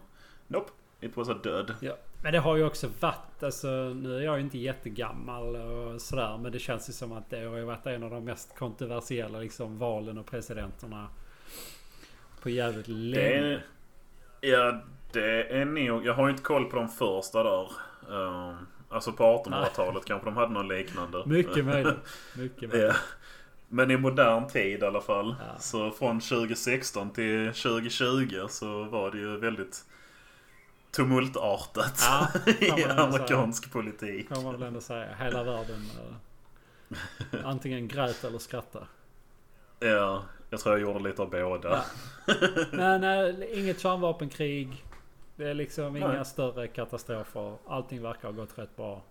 nope, it was a död. Ja. Men det har ju också varit, alltså nu är jag ju inte jättegammal och sådär men det känns ju som att det har ju varit en av de mest kontroversiella liksom, valen och presidenterna på jävligt Det länge. är, ja, det är nog... Jag har ju inte koll på de första där. Ehm, alltså på 1800-talet kanske de hade någon liknande. Mycket möjligt. Mycket <laughs> möjligt. Ja. Men i modern tid i alla fall. Ja. Så från 2016 till 2020 så var det ju väldigt tumultartat Ja, kan <laughs> i man ändå amerikansk politik. Kan man väl ändå säga. Hela världen eh, antingen grät eller skrattade. Ja, jag tror jag gjorde lite av båda. Ja. Men eh, inget kärnvapenkrig. Det är liksom inga Nej. större katastrofer. Allting verkar ha gått rätt bra.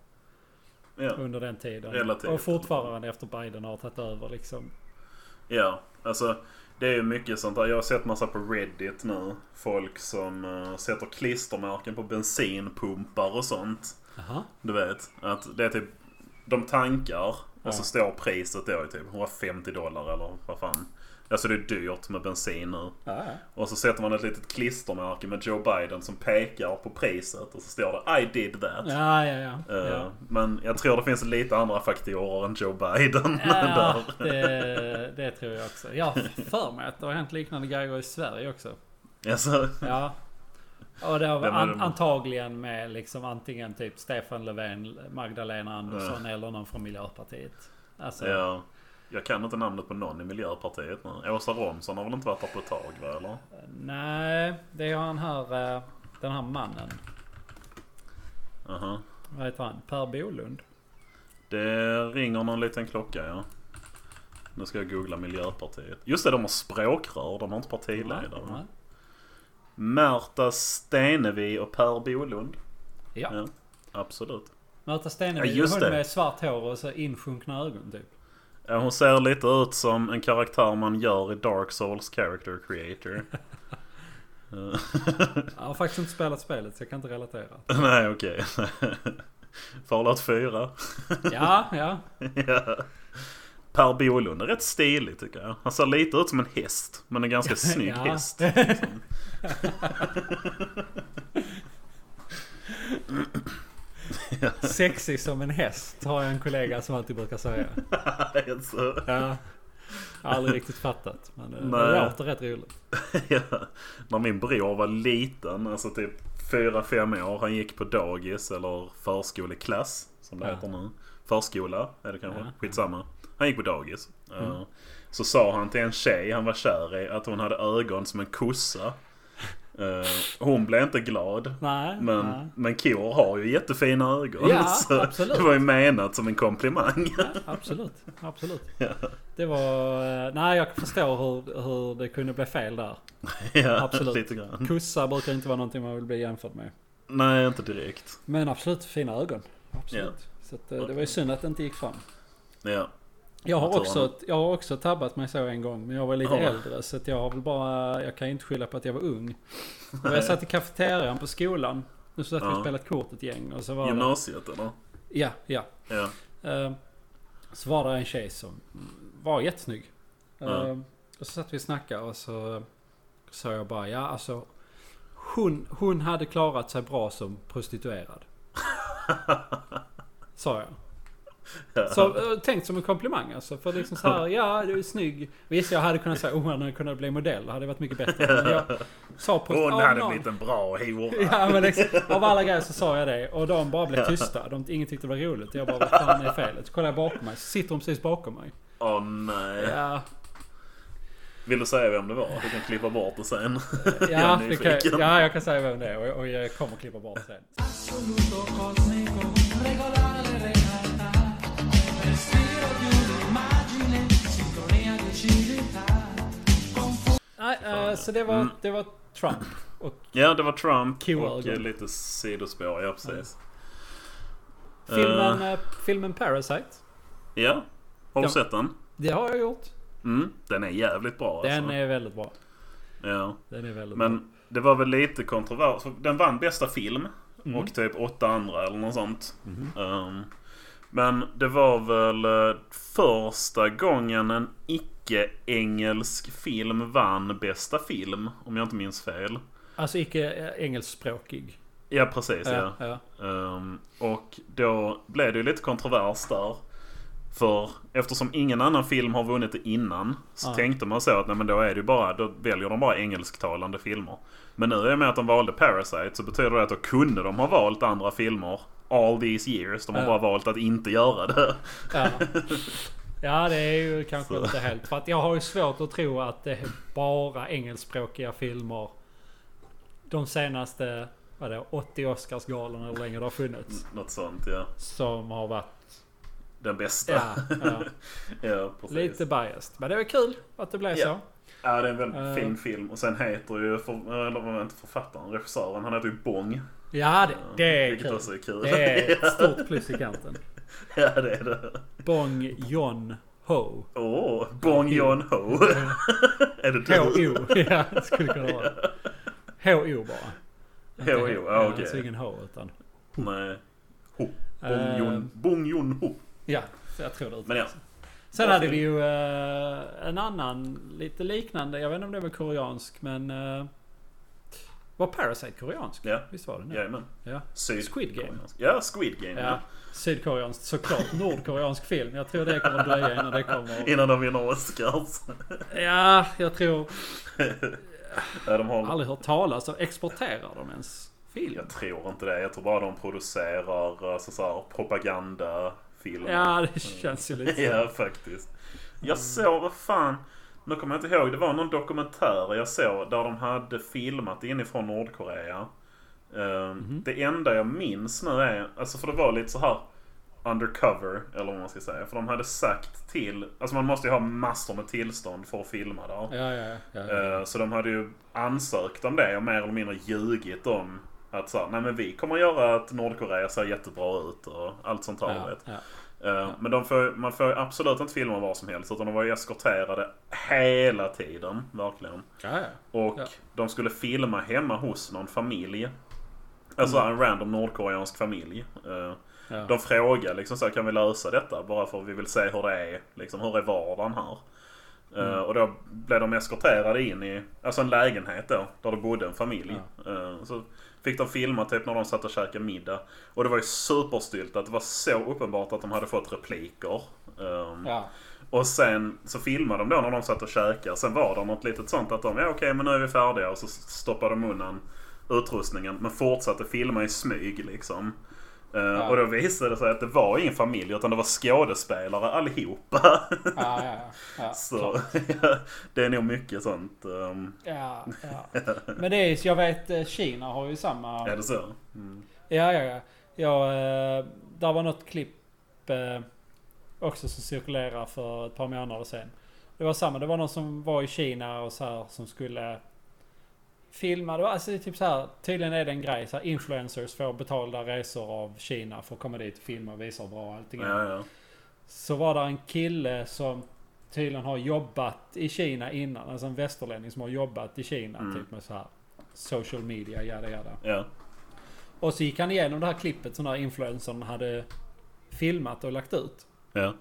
Ja. under den tiden. Relativt. Och fortfarande efter Biden har tagit över liksom. Ja, alltså det är ju mycket sånt där. Jag har sett massa på Reddit nu. Folk som eh, sätter klistermärken på bensinpumpar och sånt. Aha. Du vet, att det är typ de tankar Ja. och så står priset då i typ 150 dollar eller vad fan. Alltså det är dyrt med bensin nu. Och så sätter man ett litet klistermärke med Joe Biden som pekar på priset och så står det I did that. Ja, ja, ja. Eh, <laughs> ja. Men jag tror det finns lite andra faktorer än Joe Biden Ja, <laughs> där. det, det tror jag också. Jag har för mig att det har hänt liknande grejer i Sverige också. Alltså, Ja. Och det har väl Vem är an, det? antagligen med liksom antingen typ Stefan Löfven, Magdalena Andersson eller någon från Miljöpartiet. Alltså, ja. Jag kan inte namnet på någon i Miljöpartiet nu. Åsa Romson har väl inte varit där på ett tag va eller? nej, det är han här, eh, den här mannen. Aha. Vad heter han? Per Bolund? Det ringer någon liten klocka ja. Nu ska jag googla Miljöpartiet. Just det, de har språkrör. De har inte partiledare. Nej. Märta Stenevi och Per Bolund. Ja. Ja, absolut. Märta Stenevi, Ja, just hon det. med svart hår och så insjunkna ögon typ. Ja, Hon ser lite ut som en karaktär man gör i Dark Souls Character Creator. <laughs> Eh, Jag har faktiskt inte spelat spelet så jag kan inte <laughs> relatera. Nej, okej. Fallout 4. Ja, ja. <laughs> Ja. Per Bolund är rätt stilig tycker jag. Han ser lite ut som en häst. Men en ganska snygg <laughs> Ja. häst. <laughs> Liksom. Sexig som en häst har jag en kollega som alltid brukar säga. alltså. Ja. Aldrig riktigt fattat. Men det- det Nej. låter rätt roligt. Ja, när min bror var liten, alltså typ 4-5 år, han gick på dagis eller förskoleklass som det Ja. heter nu. Förskola är det kanske, Ja. Mm. skitsamma. Han gick på dagis. Eh, Så sa han till en tjej han var kär i att hon hade ögon som en kossa. Eh, Hon blev inte glad. Nej. nej. Men, men kor har ju jättefina ögon. Ja, <laughs> så absolut. det var ju menat som en komplimang. <laughs> Ja, absolut. Absolut. Det var... eh, Nej, jag förstår hur, hur det kunde bli fel där. ja, Absolut. lite grann. Kossa brukar inte vara någonting man vill bli jämförd med. Nej, inte direkt. Men absolut fina ögon. Absolut. Så att, eh, det var ju synd att det inte gick fram. Ja. Jag har, Vad tror också, jag har också tabbat mig så en gång. Men jag var lite Ja. äldre. Så att jag har väl bara... Jag kan ju inte skylla på att jag var ung. Och jag <laughs> satt i kafeterian på skolan. Nu satt vi och Ja. spelade kort ett gäng. Och så var det, Gymnasiet eller? ja, ja. Ja. Eh, Så var det en tjej som var jättesnygg. Eh, Ja. Och så satt vi och snackade och så sa jag bara ja alltså. Hon, hon hade <laughs> klarat sig bra som prostituerad. sa jag. Så, eh, tänkt som en komplimang alltså. För liksom så här, ja du är snygg. Visst jag hade kunnat säga, oh han hade kunnat bli modell. Det hade varit mycket bättre. Men jag sa på Hon av hade någon- blivit en bra hora. <laughs> Ja men liksom, av alla grejer så sa jag det och de bara blev tysta. De, ingen tyckte det var roligt. Jag bara, vad fan är felet? Så kollar jag bakom mig, så sitter hon precis bakom mig. Åh nej. Ja, Vill du säga vem det var? Du kan klippa bort det sen. <laughs> ja, det kan, nyfiken. ja jag kan säga vem det är och, och jag kommer klippa bort sen. assoluto cosmico, regolare realtà, respiro di un'immagine, sintonia di civiltà, confuso Nej, eh, så det var, det var Trump. Och Ja, det var Trump och Q-ögon. eh, lite sidospår. Ja, precis. filmen, eh, filmen Parasite. Ja, har du Ja. sett den? Det har jag gjort. Mm, den är jävligt bra Den alltså. är väldigt bra. Ja. Den är väldigt bra. Men det var väl lite kontrovers. för Den vann bästa film. Mm. Och typ åtta andra eller något sånt. Ehm, men det var väl eh, första gången en icke-engelsk film vann bästa film. Om jag inte minns fel. Alltså icke eh, engelskspråkig. Ja, precis. Ja. ja. Ehm, och då blev det ju lite kontrovers där. För eftersom ingen annan film har vunnit det innan så Ja. tänkte man så att nej, men då, är det ju bara, då väljer de bara engelsktalande filmer. Men nu i och med att de valde Parasite så betyder det att då kunde de ha valt andra filmer all these years. De har Ja. bara valt att inte göra det. <laughs> Ja. ja, det är ju kanske Så. inte helt... För att jag har ju svårt att tro att det är bara engelskspråkiga filmer de senaste vad är det, 80 Oscarsgalorna eller hur länge det har funnits. Något sånt ja. Som har varit... Den bästa. Ja, ja, <laughs> Ja, precis. lite biased. Men det var kul att det blev Ja. så. Ja, det är en väldigt Eh. fin film. Och sen heter ju, för, eller vad var det, inte författaren, regissören, han heter ju Bong. Ja, det, det är Vilket kul. också är kul. Det är <laughs> ett stort plus i kanten. Ja, det är det. Bong Jon <laughs> Ho. Åh, Bong Joon Ho. är det du? H-O. <laughs> Ja, det skulle kunna vara. H-O bara. Inte H.O., H- ja, okej. Alltså ingen H utan... Nej. Ho. Bong Eh. Joon, Bong Joon Ho. Ja, så jag tror det. Men ja. Sen Bra hade film. vi ju eh, en annan lite liknande. Jag vet inte om det var koreansk men... eh, var Parasite koreansk? Ja. Visst var den det? Jajamän. Ja. Syd- Squid Game. Ja, Squid Game. Ja. Ja. Sydkoreansk såklart. Nordkoreansk film. Jag tror det kommer att dröja innan det kommer. Innan de vinner Oscars. Ja, jag tror... Ja, de har... Aldrig hört talas om. Exporterar de ens film? Jag tror inte det. Jag tror bara de producerar alltså, så här, propagandafilmer. Ja, det känns ju lite så. <laughs> Ja, faktiskt. Mm. Jag såg, vad fan. Nu kommer jag inte ihåg. Det var någon dokumentär jag såg där de hade filmat inifrån Nordkorea. Ehm, Mhm. Det enda jag minns nu är, alltså för det var lite så här undercover, eller vad man ska säga. För de hade sagt till, alltså man måste ju ha massor med tillstånd för att filma där. Ja, ja, ja. ja. Eh, Så de hade ju ansökt om det och mer eller mindre ljugit om att så här, nej men vi kommer göra att Nordkorea ser jättebra ut och allt sånt här. ja, vet. ja. Eh, Men de får, man får ju absolut inte filma vad som helst utan de var ju eskorterade hela tiden. Verkligen. ja, ja. Och Ja. de skulle filma hemma hos någon familj. Alltså Mm. en random nordkoreansk familj. Eh, Ja. De frågar liksom så här, kan vi lösa detta? Bara för att vi vill se hur det är. Liksom, hur är vardagen här? Eh, Och då blev de eskorterade in i alltså en lägenhet då, där det bodde en familj. Eh, Så fick de filma typ när de satt och käkade middag. Och det var ju superstylt att det var så uppenbart att de hade fått repliker. Ehm, Ja. och sen så filmade de då när de satt och käkade. Sen var det något litet sånt att de, ja okej men nu är vi färdiga. Och så stoppade de undan utrustningen. Men fortsatte filma i smyg liksom. Eh, Och då visade det sig att det var ingen familj utan det var skådespelare allihopa. <laughs> Ja, ja, ja. ja. så det är nog mycket sånt. ehm, Ja, ja. Men det är ju, jag vet eh, Kina har ju samma... är det så? Mm, Ja, ja, ja. ja eh, där var något klipp eh, också som cirkulerade för ett par månader sedan. Det var samma, det var någon som var i Kina och så här som skulle filma. Det var, alltså, det är typ så här, tydligen är det en grej, så här, influencers får betalda resor av Kina för att komma dit och filma och visa hur bra allting är. Ja, ja. Så var det en kille som tydligen har jobbat i Kina innan. Alltså en västerlänning som har jobbat i Kina. Mm. Typ med så här social media, jada jada. ja. Och så gick han igenom det här klippet som den här influencern hade filmat och lagt ut. ja.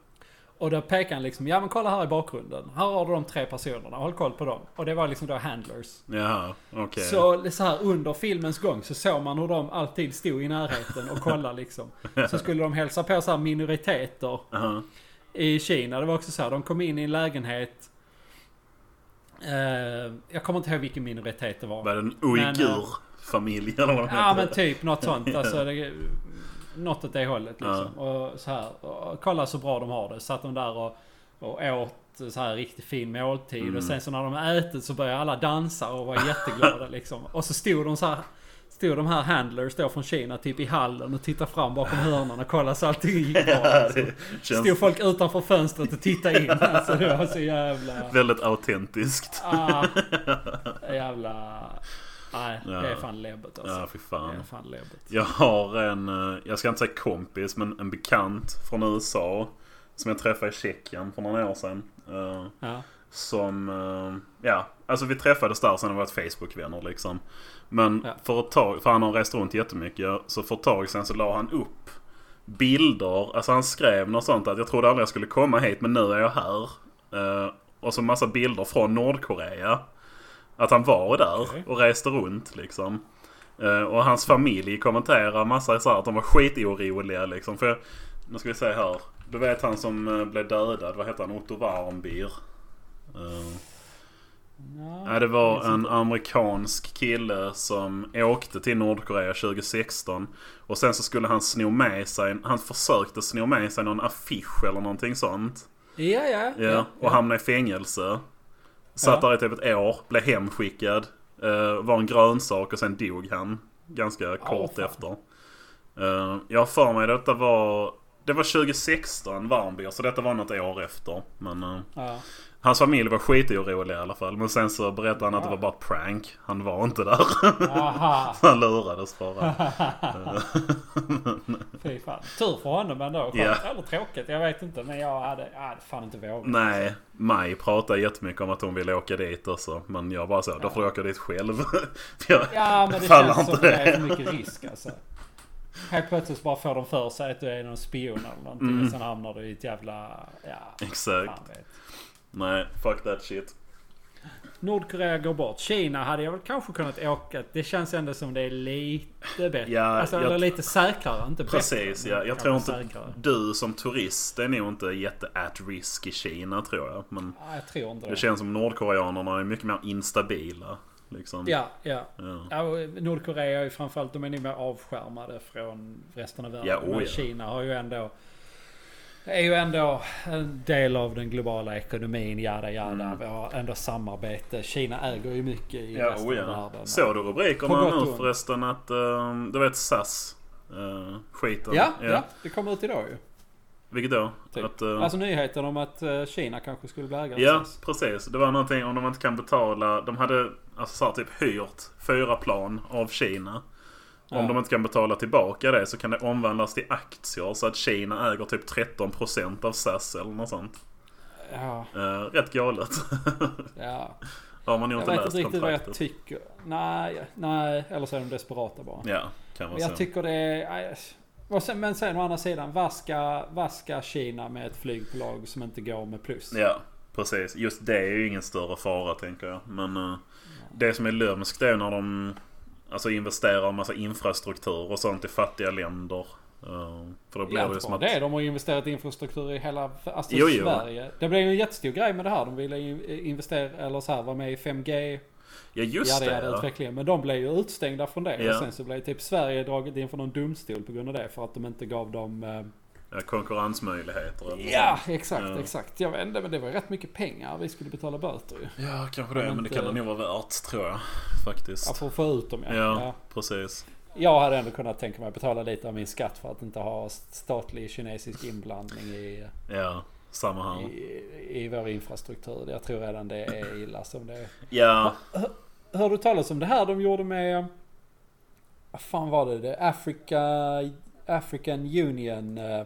Och då pekade han liksom, ja men kolla här i bakgrunden. Här har du de tre personerna, håll koll på dem. Och det var liksom då handlers. Jaha, okej. Så, så här under filmens gång så såg man hur de alltid stod i närheten och kollade <laughs> liksom. Så skulle de hälsa på så här minoriteter Jaha. i Kina. Det var också så här, de kom in i en lägenhet. Eh, jag kommer inte ihåg vilken minoritet det var. Var det en Men, eh, uigur-familj eller vad de Ja men heter? typ något sånt. Alltså, det, något åt det hållet liksom. Ja. Och så här. Och kolla så bra de har det. Satt de där och, och åt så här riktigt fin måltid. Mm. Och sen så när de ätit så började alla dansa och var <laughs> jätteglada liksom. Och så stod de så här. Stod de här handlers då från Kina typ i hallen och tittade fram bakom hörnen och kollade så allting gick bra. Ja, Liksom. <laughs> det känns Stod folk utanför fönstret och tittade in. Alltså det var så jävla... väldigt autentiskt. <laughs> Ah, jävla... Nej, det är Ja. fan läbbet alltså. Ja, fy Det är fan. fan läbbigt. Jag har en, eh, jag ska inte säga kompis, men en bekant från USA. Som jag träffade i Tjeckien för några år sedan. Eh, Ja. Som, eh, ja, alltså vi träffades där sen har vi varit Facebook-vänner liksom. Men Ja. för ett tag, för han har rest runt jättemycket. Så för ett tag sen så la han upp bilder. Alltså han skrev något sånt att jag trodde aldrig jag skulle komma hit men nu är jag här. Eh, och så massa bilder från Nordkorea. Att han var där Okej. och reste runt liksom. Eh, och hans familj kommenterar massa så här att de var skitoroliga liksom. För jag, nu ska vi se här. Du vet han som eh, blev dödad, vad heter han? Otto Warmbier. Eh, Ja. Nej, det var minns inte. en amerikansk kille som åkte till Nordkorea 2016. Och sen så skulle han sno med sig, han försökte sno med sig någon affisch eller någonting sånt. Ja, ja. Ja, och hamnade i fängelse. Satt Ja. där i typ ett år, blev hemskickad. eh, var en grönsak och sen dog han. Ganska kort fan. efter. Eh, jag har för mig detta var... Det var 2016, Warmbier, så detta var något år efter. Men, eh, Ja. Hans familj var skitorolig i alla fall. Men sen så berättade han att det var bara prank. Han var inte där. <laughs> Aha. Han lurades bara. Fy fan. Tur för honom ändå. Skönt Ja. eller tråkigt. Jag vet inte. Men jag hade, jag hade fan inte vågat. Nej, Maj pratade jättemycket om att hon ville åka dit också. Men jag bara så, då får du åka dit själv. <laughs> För jag Ja men det pallar känns som det är för mycket risk alltså. Helt plötsligt bara får de för sig att du är någon spion eller någonting. Och sen hamnar du i ett jävla... Ja, Mm. Exakt. fan vet. Nej, fuck that shit. Nordkorea går bort. Kina hade jag väl kanske kunnat åka. Det känns ändå som det är lite bättre. Ja, alltså, jag- eller lite säkrare. Inte bättre. Precis, men ja. Jag kanske tror inte... Säkrare. Du som turist är nog inte jätte at risk i Kina tror jag. Men Ja, jag tror inte det. det känns som nordkoreanerna är mycket mer instabila. Liksom. Ja, ja. Ja. Ja, och Nordkorea är ju framförallt, de är nog mer avskärmade från resten av världen. Ja, oh Men ja. Kina har ju ändå... Är ju ändå en del av den globala ekonomin, jada jada. Vi har ändå samarbete. Kina äger ju mycket i Mm. Ja, resten oh av ja. världen. Såg du På rubrikerna gott och nu ont. förresten att, eh, du vet SAS eh, skiten? Ja, ja, det kom ut idag ju. Vilket då? Typ. Att, eh, Alltså nyheten om att eh, Kina kanske skulle bli ägare. ja, precis. Det var någonting om de inte kan betala. De hade alltså, så här, typ hyrt fyra plan av Kina. Om Ja. de inte kan betala tillbaka det så kan det omvandlas till aktier så att Kina äger typ 13% av SAS eller något sånt. ja, Eh, rätt galet. <laughs> ja. Har man ju Jag inte vet inte läst riktigt vad jag kontraktet. tycker. Nej, nej. Eller så är de desperata bara. Ja, kan man Jag säga. tycker det är... aj, Och sen, men sen å andra sidan, vad ska, vad ska Kina med ett flygbolag som inte går med plus? Ja, precis. Just det är ju ingen större fara tänker jag. Men eh, det som är lömskt är när de alltså, investerar en massa infrastruktur och sånt i fattiga länder. Eh, för då blir Ja, det ju inte som bara att... det. De har ju investerat i infrastruktur i hela alltså Jo, jo. Sverige. Det blev ju en jättestor grej med det här. De ville ju investera, eller så här, vara med i 5G. Ja, just Ja, det. det är ja. utvecklingen. Men de blev ju utstängda från det. Ja. Och sen så blev typ Sverige draget inför någon domstol på grund av det. För att de inte gav dem... eh, Ja, konkurrensmöjligheter. Eller Ja, sånt. exakt, Ja. exakt. Jag vet inte, men det var rätt mycket pengar vi skulle betala böter ju. ja, kanske det. Men det kan det nog vara värt tror jag. Ja, Faktiskt. för att få ut dem Ja, ja. precis. Jag hade ändå kunnat tänka mig att betala lite av min skatt för att inte ha statlig kinesisk inblandning i, Ja, samma här. i, i vår infrastruktur. Jag tror redan det är illa som det är. Ja, Hör du talas om det här de gjorde med... Vad fan var det? det? Africa, African Union eh,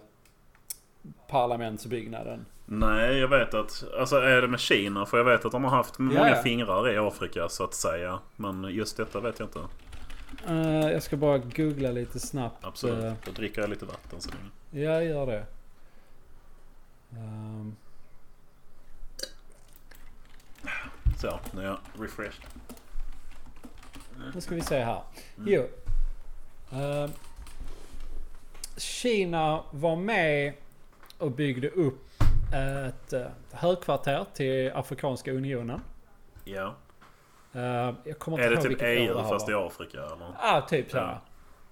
parlamentsbyggnaden. nej jag vet att... Alltså är det med Kina? För jag vet att de har haft många ja. fingrar i Afrika så att säga. Men just detta vet jag inte. Eh, jag ska bara googla lite snabbt. Absolut. Eh, Då dricker jag lite vatten så länge. Ja, gör det. Ehm, Så, nu är jag refreshed. Nu ska vi se här. Mm. Jo. Ehm, Kina var med och byggde upp ett eh, högkvarter till Afrikanska Unionen. Ja. Ehm, jag kommer inte Är det ihåg typ vilket år EU det här fast var. i Afrika eller? Ja, ah, typ så. Ja. här.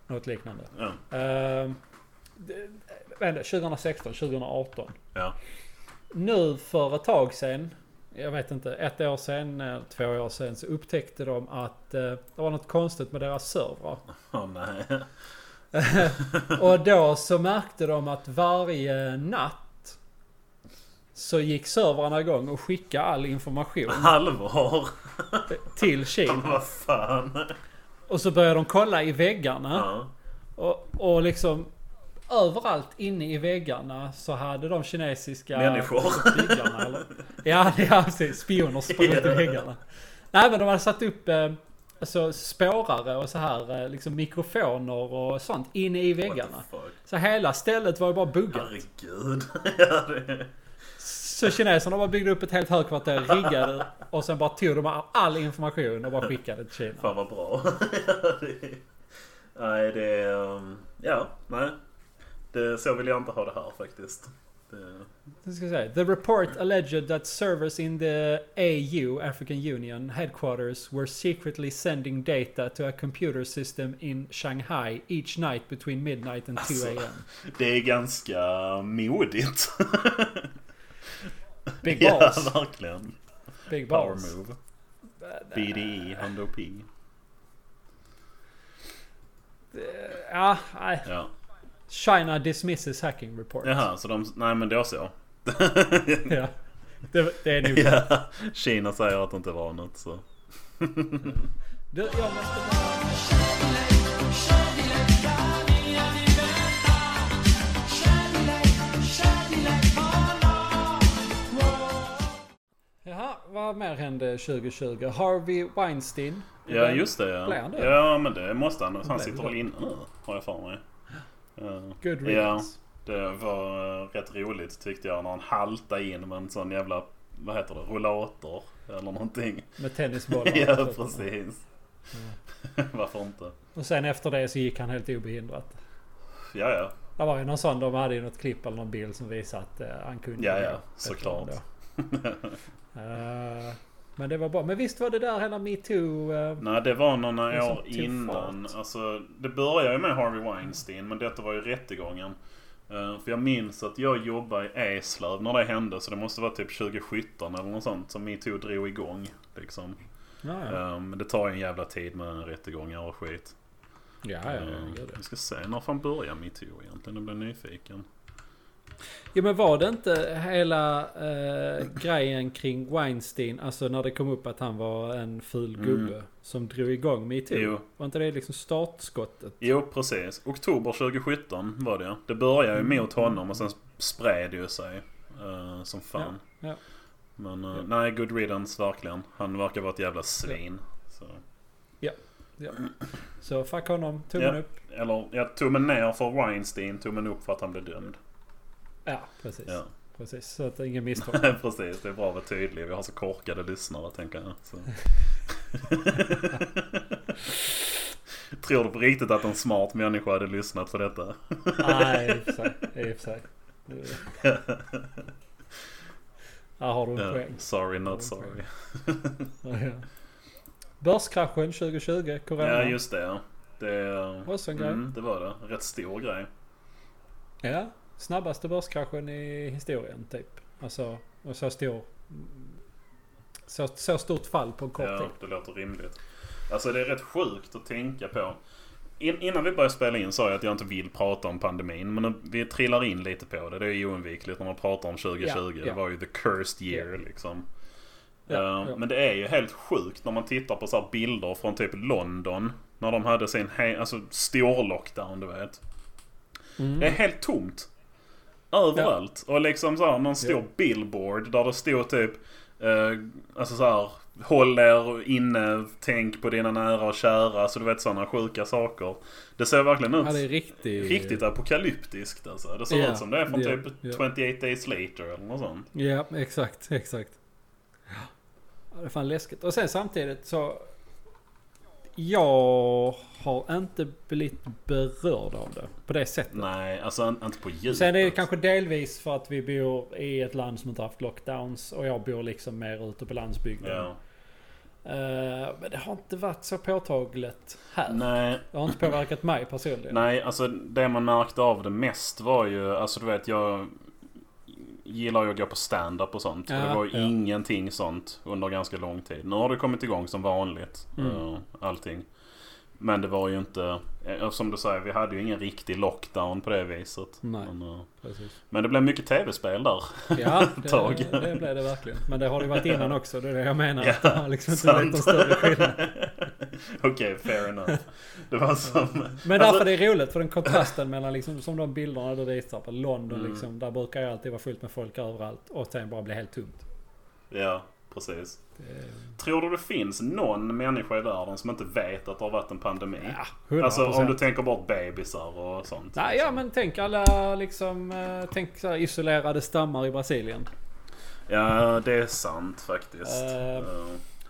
Något liknande. Ja. Ehm, det- Vänta, 2016, 2018. Ja. Nu för ett tag sedan, jag vet inte, ett år sedan, eh, två år sedan, så upptäckte de att eh, det var något konstigt med deras <laughs> servrar. Åh nej. <laughs> Och då så märkte de att varje natt så gick servrarna igång och skickade all information Allvar? till Kina. Vad fan? Och så började de kolla i väggarna. Ja. Och, och liksom överallt inne i väggarna så hade de kinesiska... Människor. byggarna, eller? Ja, ja precis. Spioner sprang ut i Ja. väggarna. Nej men de hade satt upp eh, alltså, spårare och så här eh, liksom mikrofoner och sånt inne i väggarna. What the fuck? Så hela stället var ju bara buggat. Herregud. Ja, det... Så kineserna bara byggde upp ett helt högkvarter, riggade och sen bara tog de all- all information och bara skickade till Kina. Fan vad bra. <laughs> Ja, det- Nej det är... ehm, Ja, nej. Det, så vill jag inte ha det här faktiskt. Det... Nu ska jag säga. The report alleged that servers in the AU, African Union, headquarters were secretly sending data to a computer system in Shanghai each night between midnight and 2 Alltså. a.m. <laughs> Det är ganska modigt. Big <laughs> ja, balls. verkligen. Big Power balls. move. E, BDE, Hondo P. Ja, nej. Ja. China dismisses hacking report. Jaha, så de... Nej men då <laughs> så. Ja. Det, det <laughs> är nog... Ja, Kina säger att det inte var något så. Du, jag måste... Scegli lei la mia libertà, scegli lei, scegli lei, oh no, wow. Jaha, vad mer hände 2020? Harvey Weinstein. Ja just det Blev ja. han det? Ja men det måste han. Han blev sitter det. väl inne nu har jag för mig. Ja. Good Ja, riddance. det var eh, rätt roligt tyckte jag när han haltade in med en sån jävla, vad heter det, rullator eller någonting. Med tennisbollar. <laughs> Ja precis. <laughs> Varför inte? Och sen efter det så gick han helt obehindrat. Ja ja, Det var ju någon sån, de hade ju något klipp eller någon bild som visade att eh, han kunde Ja, det ja, bättre såklart. än då. <laughs> Eh, men det var bra. Men visst var det där hela metoo... eh, Nej, det var några Det är år så till innan. fart. Alltså, det började ju med Harvey Weinstein, men detta var ju rättegången. Eh, För jag minns att jag jobbade i Eslöv när det hände, så det måste vara typ 2017 eller något sånt som metoo drog igång. Liksom. ja, ja. Eh, Men det tar ju en jävla tid med rättegångar och skit. ja, ja, ja, Eh, gud, ja. Vi ska se, när fan börjar metoo egentligen? Jag blir nyfiken. Jo men var det inte hela eh, grejen kring Weinstein, alltså när det kom upp att han var en ful gubbe som drog igång metoo? Mm. Jo. Var inte det liksom startskottet? Jo, precis. Oktober 2017 var det. Det började Mm. ju mot honom och sen spred det ju sig eh, som fan. Ja. Men eh, Ja. nej, good riddance verkligen. Han verkar vara ett jävla svin. Så. Så fuck honom, tummen Ja. upp. Eller ja, tummen ner för Weinstein, tummen upp för att han blev dömd. Ja, precis. Ja, Precis, så att ingen misstolkar. <laughs> precis. Det är bra att vara tydlig. Vi har så korkade lyssnare tänker jag. <laughs> Så. Tror du på riktigt att en smart människa hade lyssnat på detta? Nej, i och för sig. I och för sig. <laughs> Här har du en Ja, poäng. sorry Har du en not sorry. poäng. Ja. Börskraschen 2020, corona. Ja just det. ja. Det, Också en grej. mm, det var det. Rätt stor grej. Ja, snabbaste börskraschen i historien typ. Alltså, och så stor... Så, så stort fall på kort Ja, tid. det låter rimligt. Alltså det är rätt sjukt att tänka på. In, innan vi började spela in sa jag att jag inte vill prata om pandemin. Men vi trillar in lite på det. Det är ju oundvikligt när man pratar om 2020. Ja, Det ja. var ju the cursed year liksom. Eh, ja. Men det är ju helt sjukt när man tittar på så här bilder från typ London. När de hade sin he- alltså, stor lockdown du vet. Mm. Det är helt tomt. Överallt. Och liksom så här, någon stor Ja. billboard där det stod typ eh, alltså så här, Håll er inne, tänk på dina nära och kära. Så du vet sådana sjuka saker. Det ser verkligen ut. Ja, det är riktigt. Riktigt apokalyptiskt alltså. Det ser Ja, ut som det är från ja, typ ja. 28 Days Later eller något sånt. Ja, exakt, exakt. Ja, det är fan läskigt. Och sen samtidigt så... Jag har inte blivit berörd av det på det sättet. Nej, alltså an- inte på djupet. Sen är det kanske delvis för att vi bor i ett land som inte haft lockdowns och jag bor liksom mer ute på landsbygden. Ja. Eh, men det har inte varit så påtagligt här. Nej, Det har inte påverkat mig personligen. nej, alltså det man märkte av det mest var ju, alltså du vet jag gillar ju att gå på stand-up och sånt. och Ja, det var ju ja. ingenting sånt under ganska lång tid. Nu har det kommit igång som vanligt. Mm. eh, allting. Men det var ju inte, eh, som du säger, vi hade ju ingen riktig lockdown på det viset. Nej. Men, eh, Precis. men det blev mycket tv-spel där. <laughs> Ja, det, Tag. det blev det verkligen. Men det har det ju varit innan också. Det är det jag menar. Ja, att det har liksom inte sant. blivit någon större skillnad. <laughs> Okej, fair enough. Det var som... Men därför det är roligt för den kontrasten mellan liksom som de bilderna du visar på London Mm. liksom. Där brukar ju alltid vara fullt med folk överallt och sen bara bli helt tomt. Ja, precis. Det är- Tror du det finns någon människa i världen som inte vet att det har varit en pandemi? Ja, 100%. alltså om du tänker bort bebisar och sånt. liksom. Nej, ja men tänk alla liksom, eh, tänk så här isolerade stammar i Brasilien. Ja, det är sant faktiskt. Eh. Eh,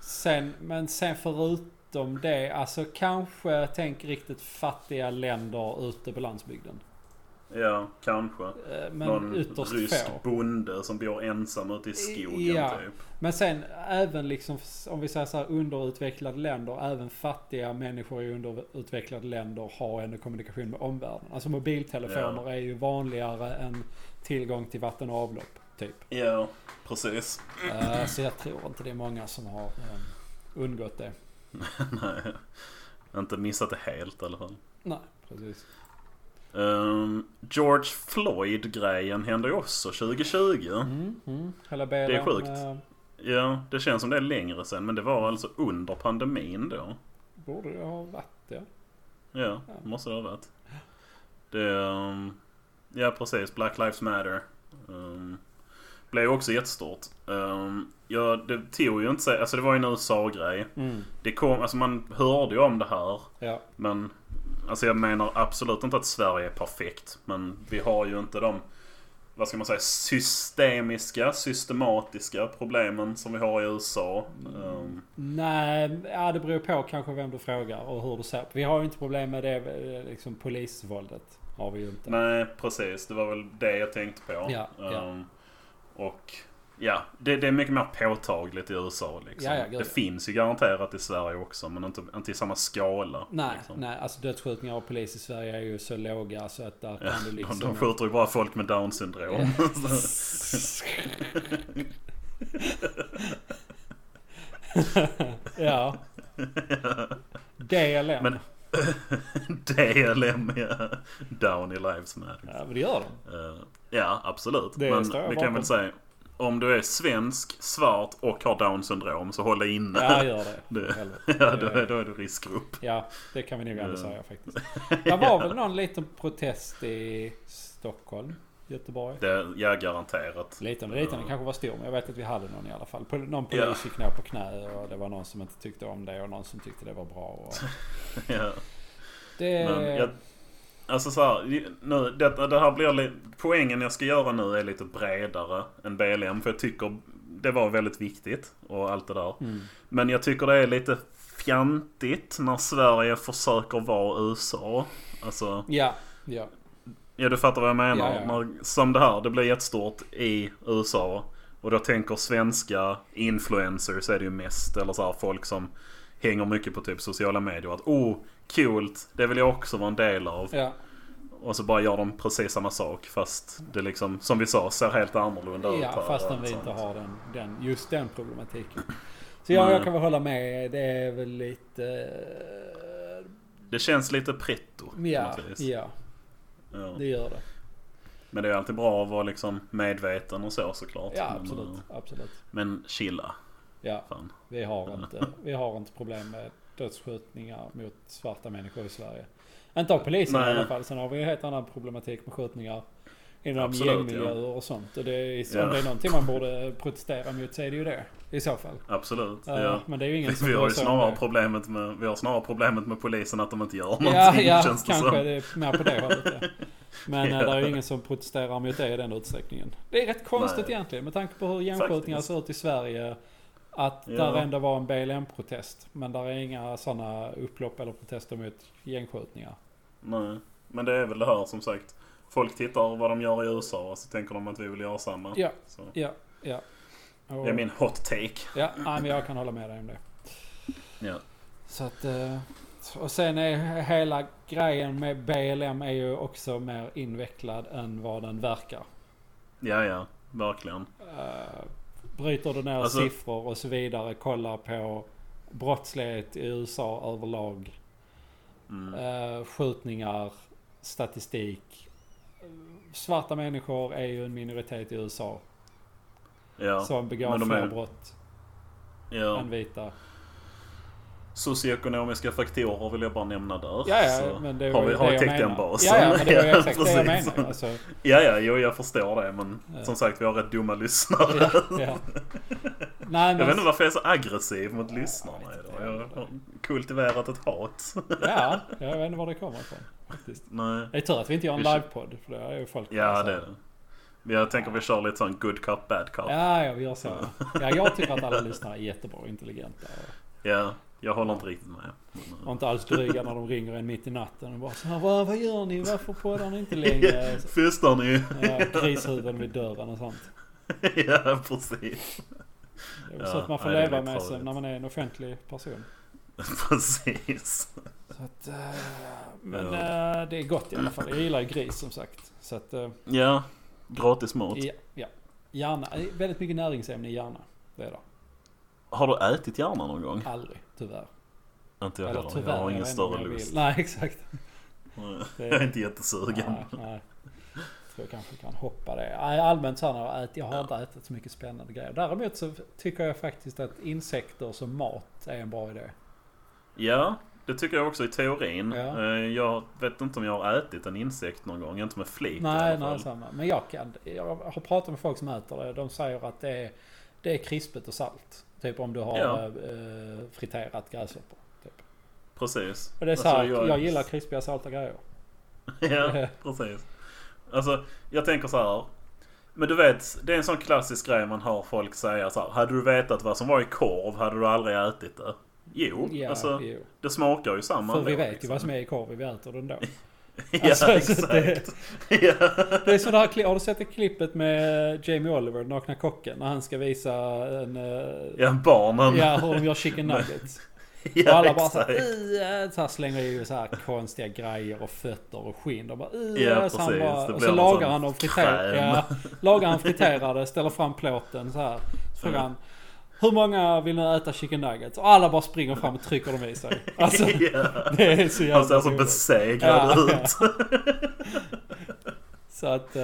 Sen, men sen förutom det, alltså kanske tänk riktigt fattiga länder ute på landsbygden. ja, kanske. Eh, Men någon ytterst rysk få. bonde som bor ensam ute i skogen Ja. typ. Men sen även liksom, om vi säger så här underutvecklade länder, även fattiga människor i underutvecklade länder har ändå kommunikation med omvärlden. Alltså mobiltelefoner är ju vanligare än tillgång till vatten och avlopp, typ. Ja, precis. <laughs> Eh, Så jag tror inte det är många som har eh, undgått det. Nej, jag har inte missat det helt i alla fall. Nej, precis. Ehm, George Floyd-grejen hände ju också 2020. Mm, mm. Hela Bela, Det är sjukt. eh, Ja, det känns som det är längre sen men det var alltså under pandemin då. borde det ha varit det? Ja, måste det ha varit. Det, ehm, ja precis, Black Lives Matter. Um, blev också jättestort. Um, ja, det tog ju inte sig, alltså det var ju en USA-grej. Mm. Det kom, alltså man hörde ju om det här. Ja. Men alltså jag menar absolut inte att Sverige är perfekt. Men vi har ju inte de, vad ska man säga, systemiska, systematiska problemen som vi har i USA. Ehm, Nej, ja, det beror på kanske vem du frågar och hur du ser på. Vi har ju inte problem med det eh, liksom polisvåldet. Har vi ju inte. Nej, precis. Det var väl det jag tänkte på. Ja, ja. Ehm, och ja, det, det är mycket mer påtagligt i USA. Liksom. Ja, ja, gud, det ja. finns ju garanterat i Sverige också, men inte, inte i samma skala. Nej, liksom. nej, alltså dödsskjutningar av polis i Sverige är ju så låga så att där kan Ja, du de, liksom... de skjuter ju bara folk med down syndrom. <laughs> <laughs> ja. DLM. Men- DLM, ja. Down i Lives Matter. Ja, men det gör de. Eh, ja, absolut. Det men står jag vi kan väl bakom. säga, om du är svensk, svart och har down syndrom så håll dig inne. Ja, gör det. Det- Helvete. <laughs> ja, då, är- då är du riskgrupp. Ja, det kan vi nog ändå Ja. säga <laughs> faktiskt. Det var väl någon liten protest i Stockholm, Göteborg. Det, ja, garanterat. Liten och liten, den kanske var stor men jag vet att vi hade någon i alla fall. Pol- Någon polis Ja. gick ner på knä och det var någon som inte tyckte om det och någon som tyckte det var bra. <laughs> Och Ja. det... Men jag, alltså så här, nu, det, det här blir li- Poängen jag ska göra nu är lite bredare än BLM. För jag tycker det var väldigt viktigt och allt det där. Mm. Men jag tycker det är lite fjantigt när Sverige försöker vara USA. Alltså, Ja, ja. ja du fattar vad jag menar. Ja, ja. När, som det här, det blir jättestort i USA. Och då tänker svenska influencers är det ju mest. Eller så här, folk som hänger mycket på typ sociala medier. Att oh, coolt, det vill jag också vara en del av. ja. Och så bara gör de precis samma sak fast det liksom, som vi sa, ser helt annorlunda ut. här Ja, och fastän allt vi sånt. inte har den, den, just den problematiken. Så ja, Mm. jag kan väl hålla med. Det är väl lite... eh, Det känns lite pretto. på Ja, något vis. ja, Ja. det gör det. Men det är alltid bra att vara liksom medveten och så såklart. Ja, men, absolut. eh, Absolut. Men chilla. Ja, Fan. vi har inte, vi har inte problem med dödsskjutningar mot svarta människor i Sverige. Inte av polisen Nej. i alla fall. Sen har vi ju helt annan problematik med skjutningar Inom Absolut, gängmiljöer ja. och sånt. Och det är, om Ja. det är någonting man borde protestera mot så är det ju det. I så fall. Absolut. Eh, ja. Men det är ju ingen som <laughs> Vi har bryr ju sig om snarare det. problemet med, vi har snarare problemet med polisen att de inte gör någonting Ja, ja känns det kanske som. det är mer på det hållet. Ja. Men <laughs> Ja. eh, det är ju ingen som protesterar mot det i den utsträckningen. Det är rätt konstigt Nej. egentligen med tanke på hur gängskjutningar Faktiskt. ser ut i Sverige. Att Ja. där ändå var en BLM-protest. Men där är inga sådana upplopp eller protester mot gängskjutningar. Nej. Men det är väl det här som sagt. Folk tittar vad de gör i USA och så tänker de att vi vill göra samma. Ja, Så. ja, ja. Och, Det är min hot take. Ja, nej, men jag kan hålla med dig om det. Ja. Så att... eh, Och sen är hela grejen med BLM är ju också mer invecklad än vad den verkar. Ja, ja. Verkligen. Eh, bryter du ner Alltså- siffror och så vidare. Kollar på brottslighet i USA överlag. Mm. Eh, skjutningar, statistik. Eh, Svarta människor är ju en minoritet i USA Ja. som begår men de fler är- brott ja. än vita. Socioekonomiska faktorer vill jag bara nämna där. Ja, Så ja, men det var har vi ju har det vi jag täckt den menar. basen? Ja, ja, men det <laughs> var ju Ja, exakt det jag precis. menade. Alltså, Ja, ja, jo, jag förstår det. Men Ja. som sagt, vi har rätt dumma lyssnare. ja, ja. Nej, Jag men, vet inte varför jag är så aggressiv mot Ja, jag lyssnarna vet idag. inte. Jag har kultiverat ett hat. <laughs> ja, jag vet inte var det kommer ifrån. Faktiskt. Nej. Det är tur att vi inte gör en Vi kör- livepodd. För det är ju folk alltså Ja, det är det. Men Jag tänker vi kör lite sån good cop, bad cop. Ja. Ja, ja, vi gör så. Ja, jag tycker att alla lyssnare är jättebra och intelligenta. jag håller inte riktigt med. Och inte alls dryga när de ringer en mitt i natten och bara så här, vad, vad gör ni? Varför poddar ni inte <laughs> längre? Fystar ni? <laughs> Ja, grishuvuden vid dörren och sånt. ja, precis. Det är väl Ja, så att man får nej, det är leva lite med sig farligt. när man är en offentlig person. precis. Så att, eh, men Ja. eh, det är gott i alla fall. Jag gillar ju gris som sagt. Så att, eh, Ja, gratis mat. ja, ja. Hjärna, det är väldigt mycket näringsämne i hjärna. Det är det. Har du ätit hjärna någon gång? Aldrig, tyvärr. Inte jag heller. Jag har jag ingen vet inte om större jag vill. lust. Nej, exakt. Nej, Det- Jag är inte jättesugen. Nej, nej. Jag tror jag kanske kan hoppa det. Nej, Allmänt så här, när jag äter- jag har inte ätit så mycket spännande grejer. Däremot så tycker jag faktiskt att insekter som mat är en bra idé. Ja, det tycker jag också i teorin. Ja. Eh, Jag vet inte om jag har ätit en insekt någon gång. Inte med flit i Nej, alltså. alla nej, fall. samma. Men jag kan. Jag har pratat med folk som äter det. De säger att det är, det är krispigt och salt. Typ om du har Ja. eh, friterat gräshoppor. Typ. Precis. Och det är så här, Alltså, jag... gillar krispiga salta grejer. <laughs> <laughs> Ja, precis. Alltså, jag tänker så här. Men du vet, det är en sån klassisk grej man hör folk säga så här. Hade du vetat vad som var i korv hade du aldrig ätit det. Jo, Ja, alltså jo. det smakar ju samma. För vi ändå, vet ju liksom. vad som är i korven, vi äter den då. <laughs> Ja, Alltså, så exakt. det- ja. Det är sådär, kli- har du sett det klippet med eh, Jamie Oliver, nakna kocken, när han ska visa en... eh, ja, barnen. Ja, hur de gör chicken nuggets. <laughs> Ja, och alla bara exakt. såhär, så här slänger ju så här konstiga grejer och fötter och skinn. De bara, "Ih, Ja, så han precis. bara, Det och blir så en lagar sån han dem friterade. kräm. Ja, lagar han friterade, ställer fram plåten så här. Så frågar han, hur många vill nu äta chicken nuggets? Och alla bara springer fram och trycker dem i sig. Alltså, <laughs> ja. det är så jävla Han ser så roligt. besegrad Ja, ut. Så att... eh,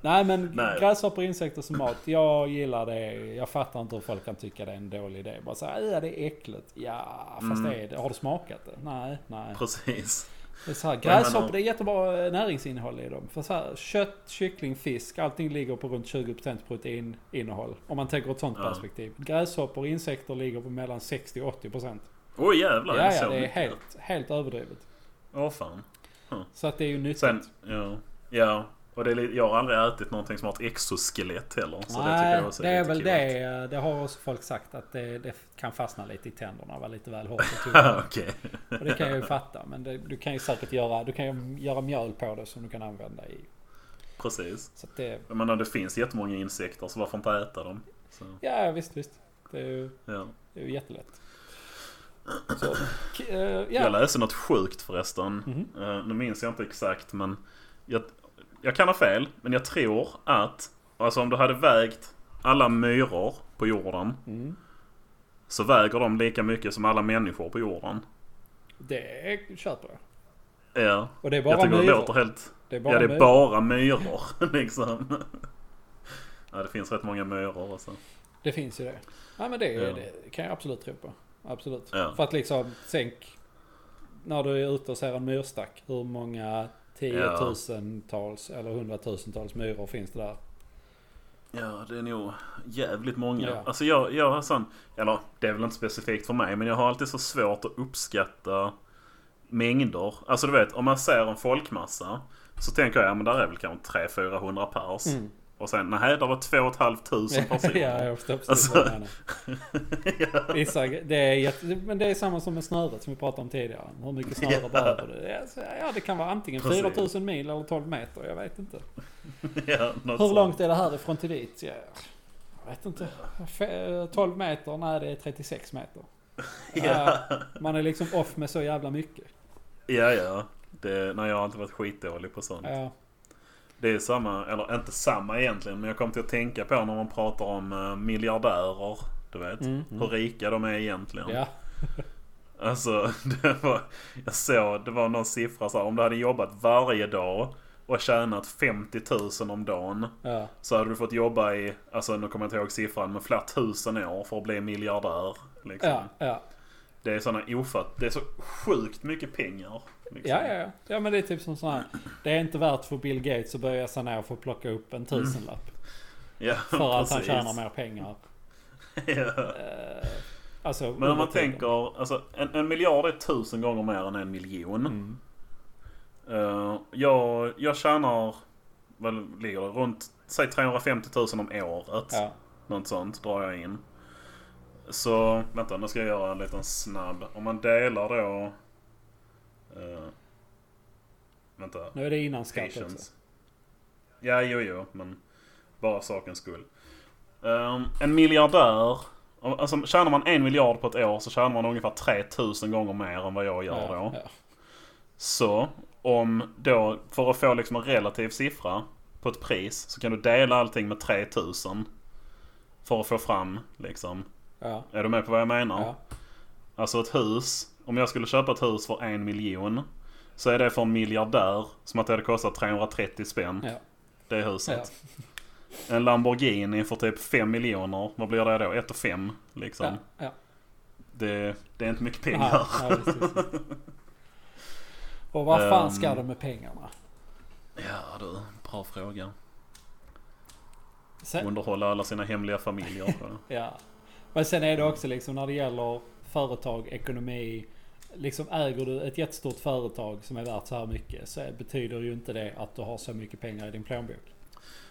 Nej men <laughs> Nej. gräshoppor, insekter som mat. Jag gillar det. Jag fattar inte hur folk kan tycka det är en dålig idé. Bara såhär, ja det är äckligt. Ja, Mm. fast det är det. Har du smakat det? Nej, nej. Precis. Det är så här, menar- gräshoppor, det är jättebra eh, näringsinnehåll i dem. För så här, kött, kyckling, fisk, allting ligger på runt 20% proteininnehåll. Om man tänker ett sånt Ja. perspektiv. Gräshoppor, insekter ligger på mellan 60 och 80%. Åh jävlar, Ja, är så ja, det är mycket? helt, helt överdrivet. Åh fan. Så att det är ju nyttigt. Sen, ja. ja. Och det är, li- jag har aldrig ätit någonting som har ett exoskelett heller. Så det tycker Nej, jag också det är lite väl kul. det. Det har också folk sagt att det, det kan fastna lite i tänderna. Vara lite väl hårt och <laughs> tungt. Ah, <laughs> Okej. Och det kan jag ju fatta. Men det, du kan ju säkert göra, du kan ju göra mjöl på det som du kan använda i. Precis. Så att det, Jag menar det finns jättemånga insekter så varför inte äta dem? Så, ja visst, visst. Det är ju, ja. det är ju jättelätt. Så, k- eh, Jag ja. läste något sjukt förresten. Mhm. Eh, nu minns jag inte exakt men jag, jag kan ha fel men jag tror att alltså om du hade vägt alla myror på jorden Mm. så väger de lika mycket som alla människor på jorden. Det köper jag. Ja. Och det är Jag bara tycker det låter myror. helt... Det är bara Ja, det är myror. bara myror <laughs> liksom. Ja, det finns rätt många myror alltså. Det finns ju det. Ja men det, Ja. det kan jag absolut tro på. Absolut. Ja. För att liksom sänk när du är ute och ser en myrstack, hur många tiotusentals eller hundratusentals myror finns det där? Ja, det är nog jävligt många. Ja. Alltså jag, jag har sån, eller det är väl inte specifikt för mig, men jag har alltid så svårt att uppskatta mängder. Alltså du vet, om man ser en folkmassa så tänker jag, ja men där är väl kanske 300-400 pers. Mm. Och sen, nej, där var <laughs> 2500 personer. ja, jag förstår precis Alltså- vad du menar. ja. Isak, det är jätte... Men det är samma som med snöret som vi pratade om tidigare. Hur mycket snöre Ja. behöver du? Det är så- Ja, det kan vara antingen Precis. 4000 mil eller 12 meter. Jag vet inte. <laughs> Ja, något Hur sånt. långt är det härifrån till dit? Ja, jag vet inte. Fe- 12 meter? Nej, det är 36 meter. <laughs> Ja, Ja, Man är liksom off med så jävla mycket. ja. ja. Det, nej, jag har alltid varit skitdålig på sånt. Ja, Det är samma, eller inte samma egentligen, men jag kom till att tänka på när man pratar om eh, miljardärer. Du vet, Mm, hur rika de är egentligen. ja. Alltså, <laughs> det var, jag såg, det var någon siffra så här, om du hade jobbat varje dag och tjänat 50 000 om dagen. ja. Så hade du fått jobba i, alltså nu kommer jag inte ihåg siffran, men flera tusen år för att bli miljardär. Liksom. Ja, ja. Det är sådana ofatt, det är så sjukt mycket pengar. liksom. Ja, ja, ja. Ja, men det är typ som sån här. Det är inte värt för Bill Gates att böja sig ner för att plocka upp en tusenlapp. Mm. <laughs> ja För att han precis. tjänar mer pengar. <laughs> Ja. Eh, alltså, Men om under man tiden. tänker, alltså en, en miljard är tusen gånger mer än en miljon. Mm. Eh, jag, jag tjänar, vad ligger det, runt, säg 350 000 om året. Ja. Något sånt drar jag in. Så vänta, nu ska jag göra en liten snabb. Om man delar då... eh, vänta. Nu är det innan skatt också. Patience. Ja, jo, jo, men bara sakens skull. Ehm, en miljardär. Alltså tjänar man en miljard på ett år så tjänar man ungefär 3000 gånger mer än vad jag gör då. ja. Så om då, för att få liksom en relativ siffra på ett pris så kan du dela allting med 3000. För att få fram liksom. Ja, Är du med på vad jag menar? ja, Alltså ett hus. Om jag skulle köpa ett hus för en miljon. Så är det för en miljardär som att det hade kostat 330 spänn. ja, Det ja. huset. En Lamborghini för typ 5 miljoner. Vad blir det då? 1 och 5 liksom. ja, ja. Det, det är inte mycket pengar. Nej, nej, precis. Och vad fan ska Ehm. de med pengarna? Ja du, bra fråga. Sen, Underhålla alla sina hemliga familjer. <laughs> tror jag. ja. Men sen är det också liksom när det gäller företag, ekonomi. Liksom äger du ett jättestort företag som är värt så här mycket så betyder ju inte det att du har så mycket pengar i din plånbok.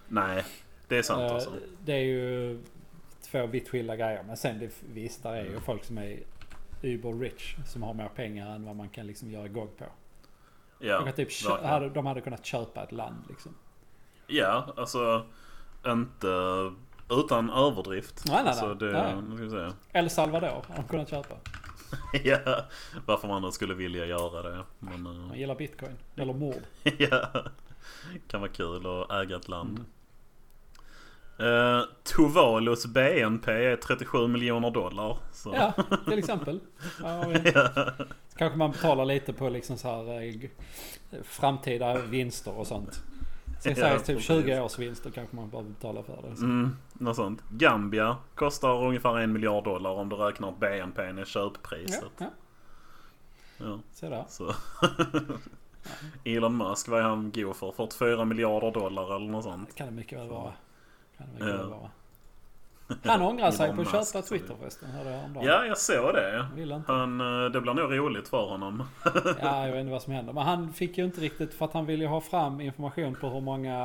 Nej, det är sant Eh, alltså. Det är ju två vitt skilda grejer. Men sen det, visst, där är Mm. ju folk som är uber rich som har mer pengar än vad man kan liksom göra igång på. Ja, de, kan typ, kö- verkligen. hade, de hade kunnat köpa ett land liksom. ja alltså inte utan överdrift. Nej, nej, nej. Alltså, det, Nej. Nu ska vi se. El Salvador har de kunnat köpa. <laughs> ja, varför man då skulle vilja göra det. Men, eh, Man gillar bitcoin. Eller mord. <laughs> ja. Kan vara kul att äga ett Mm. land. Eh, Tuvalos BNP är 37 miljoner dollar. Så. <laughs> Ja, till exempel. Ja, och- Så kanske man betalar lite på liksom så här eh, g- framtida vinster och sånt. Så Ja, det sägs typ precis. 20 års vinster kanske man behöver betala för det. Mm, något sånt. Gambia kostar ungefär en miljard dollar om du räknar BNP i Ja, köppriset. ja, Ja, se där. så. <laughs> Elon Musk, vad är han god för? 44 miljarder dollar eller något sånt? Det kan det mycket väl Så. vara. Kan det mycket Ja. väl <laughs> vara. Han ångrar sig på att Elon Musk, köpa så det- Twitter förresten. Hörde jag häromdagen. Ja, jag såg det. Han ville inte. Han, eh, det blir nog roligt för honom. <laughs> Ja, jag vet inte vad som händer. Men han fick ju inte riktigt för att han ville ju ha fram information på hur många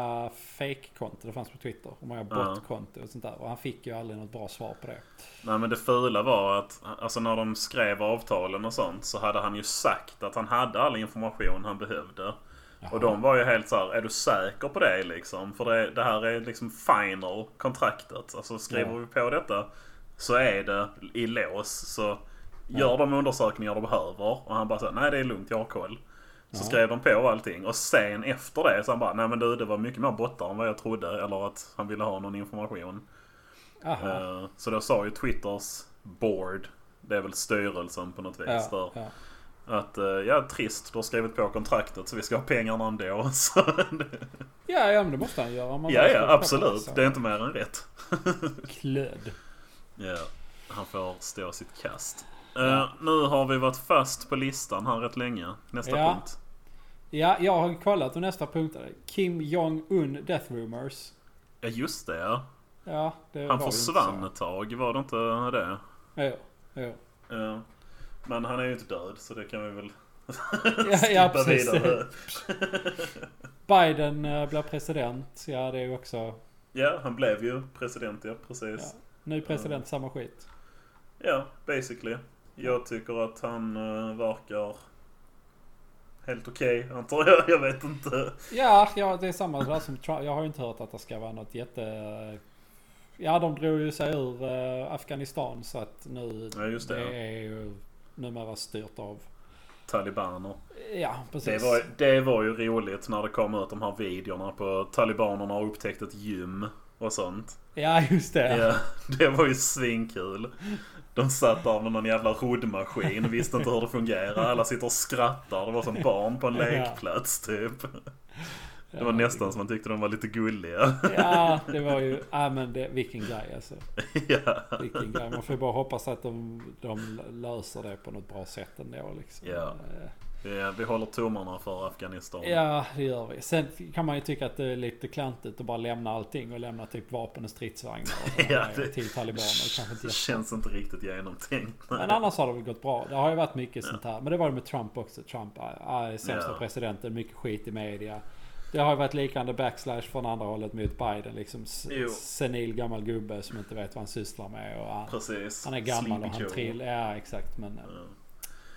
fake-konton det fanns på Twitter. Hur många Ja. bot-konton och sånt där. Och han fick ju aldrig något bra svar på det. Nej men det fula var att alltså när de skrev avtalen och sånt så hade han ju sagt att han hade all information han behövde. Och de var ju helt så här, är du säker på det liksom? För det, det här är liksom final kontraktet. Alltså skriver Ja. vi på detta så är det i lås. Så gör de undersökningar de behöver. Och han bara så här, nej det är lugnt, jag har koll. Så skrev de på allting och sen efter det så han bara, nej men du det var mycket mer bottar än vad jag trodde. Eller att han ville ha någon information. Aha. Eh, Så då sa ju Twitters board, det är väl styrelsen på något vis Ja, där. ja. Att eh, ja, trist, du har skrivit på kontraktet så vi ska ha pengarna ändå. <laughs> Så, det- ja, ja, men det måste han göra. om man ja, bara ja, ska köpa absolut. så. Det är inte mer än rätt. Klöd. Ja, han får stå sitt kast. Eh, Nu har vi varit fast på listan här rätt länge. Nästa Ja. punkt. Ja, jag har kollat och nästa punkt är Kim Jong-Un Death Rumors. Ja just det ja. Ja, det Han var ju försvann inte ett tag, var det inte det? så. Ja, ja. Eh, Men han är ju inte död så det kan vi väl Ja, ja, <laughs> skippa precis. vidare. <laughs> Biden eh, blir president. Ja, det är ju också Ja, han blev ju president ja, precis. ny president, samma skit. Ja, basically. Jag tycker att han eh, verkar helt okej, antar jag. Jag vet inte. Ja, ja, det är samma där som Trump. Jag har ju inte hört att det ska vara något jätte... Ja, de drog ju sig ur eh, Afghanistan så att nu... Ja, just det, ja. är ju numera styrt av... Talibaner. Ja, Det precis. var, det var ju roligt när det kom ut de här videorna på talibanerna har upptäckt ett gym och sånt. Ja, just det. Ja. <laughs> det var ju svinkul. De satt där med någon jävla roddmaskin, visste inte hur det fungerar. Alla sitter och skrattar. Det var som barn på en Ja. lekplats typ. Det var Ja. nästan som man tyckte de var lite gulliga. <laughs> Ja, det var ju... Ja, men det, vilken grej alltså. Ja. Vilken grej. Man får ju bara hoppas att de, de löser det på något bra sätt ändå liksom. Ja. Eh, Ja, vi håller tummarna för Afghanistan. Ja, det gör vi. Sen kan man ju tycka att det är lite klantigt att bara lämna allting och lämna typ vapen och stridsvagnar och sådana <laughs> <laughs> Ja, grejer det- till talibaner. Kanske inte <laughs> Det känns inte riktigt genomtänkt. men annars har det väl gått bra. Det har ju varit mycket sånt här. Men det var det med Trump också. Trump är är sämsta Ja. presidenten. Mycket skit i media. Det har ju varit liknande backslash från andra hållet mot Biden. Liksom s- Jo. senil gammal gubbe som inte vet vad han sysslar med. Och han, Precis. han är gammal Sleepy och han Joe. trillar. Ja exakt men eh, Ja.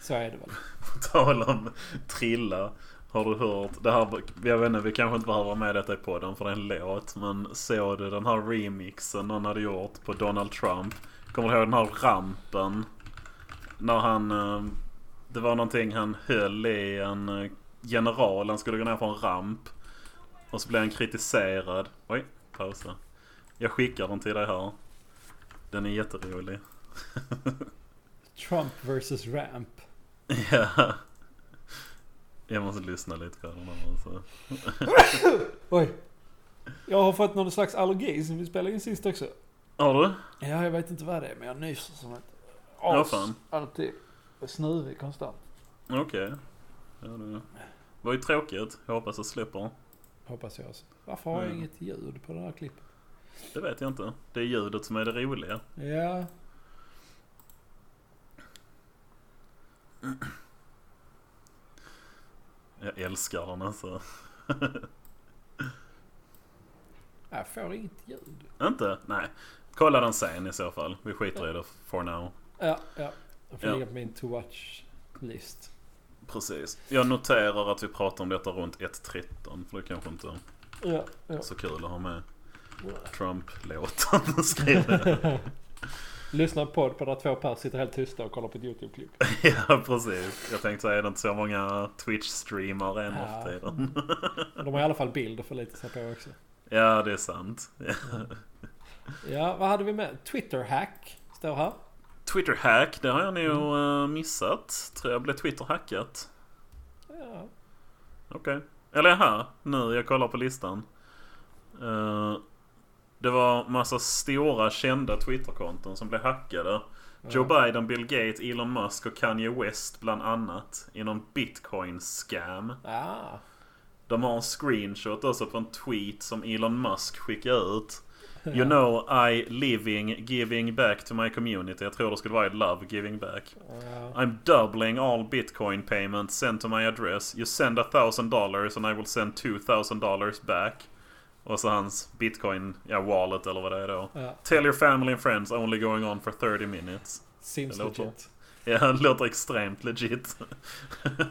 så är det väl. På tal om trilla. Har du hört? Det här, jag vet inte, vi kanske inte behöver ha med detta i podden för det är en låt. Men såg du den här remixen någon hade gjort på Donald Trump? Kommer du ihåg den här rampen? När han... eh, Det var någonting han höll i en eh, general. Han skulle gå ner på en ramp. Och så blev han kritiserad. Oj, pausa. Jag skickar den till dig här. Den är jätterolig. <laughs> Trump vs Ramp. Ja. Jag måste lyssna lite på den här alltså. Oj. Jag har fått någon slags allergi sen vi spelade in sist också. Har du? Ja, jag vet inte vad det är, men jag nyser som ett Ja, fan. Alltid. Och snuvig konstant. Okej. Ja, det var ju tråkigt. Jag hoppas jag slipper. Hoppas jag också. Varför har jag Mm. inget ljud på det här klippet? Det vet jag inte. Det är ljudet som är det roliga. Ja. Jag älskar den alltså. Jag får inget ljud. Inte? Nej. Kolla den sen i så fall. Vi skiter i det for now. Ja, ja. Jag får Ja. ligga på min to watch list. Precis. Jag noterar att vi pratar om detta runt 1.13. För det kanske inte är Ja, ja. så kul att ha med Trump-låten skriven. <laughs> Lyssna på podd på där två pers sitter helt tysta och kollar på ett YouTube-klipp. ja, precis. Jag tänkte säga är det inte så många Twitch-streamare än Ja. ja. för tiden. De har i alla fall bild att förlita sig på också. Ja, det är sant. Ja, vad hade vi med? Twitter-hack står här. Twitter-hack, det har jag nog eh, missat. Tror jag blev Twitter-hackat. Ja. Okej. Eller här, nu. Jag kollar på listan. Eh, det var massa stora kända Twitter-konton som blev hackade. Joe Biden, Bill Gates, Elon Musk och Kanye West bland annat. I någon bitcoin-scam. Ah. De har en screenshot också på en tweet som Elon Musk skickade ut. You know I living giving back to my community. Jag tror det skulle vara I love giving back. Ja. I'm doubling all Bitcoin payments sent to my address. You send a thousand dollars and I will send two thousand dollars back. Och så hans bitcoin, ja wallet eller vad det är då. Ja. Tell your family and friends only going on for 30 minutes. <laughs> Seems Det låter- legit. Ja, det låter extremt legit.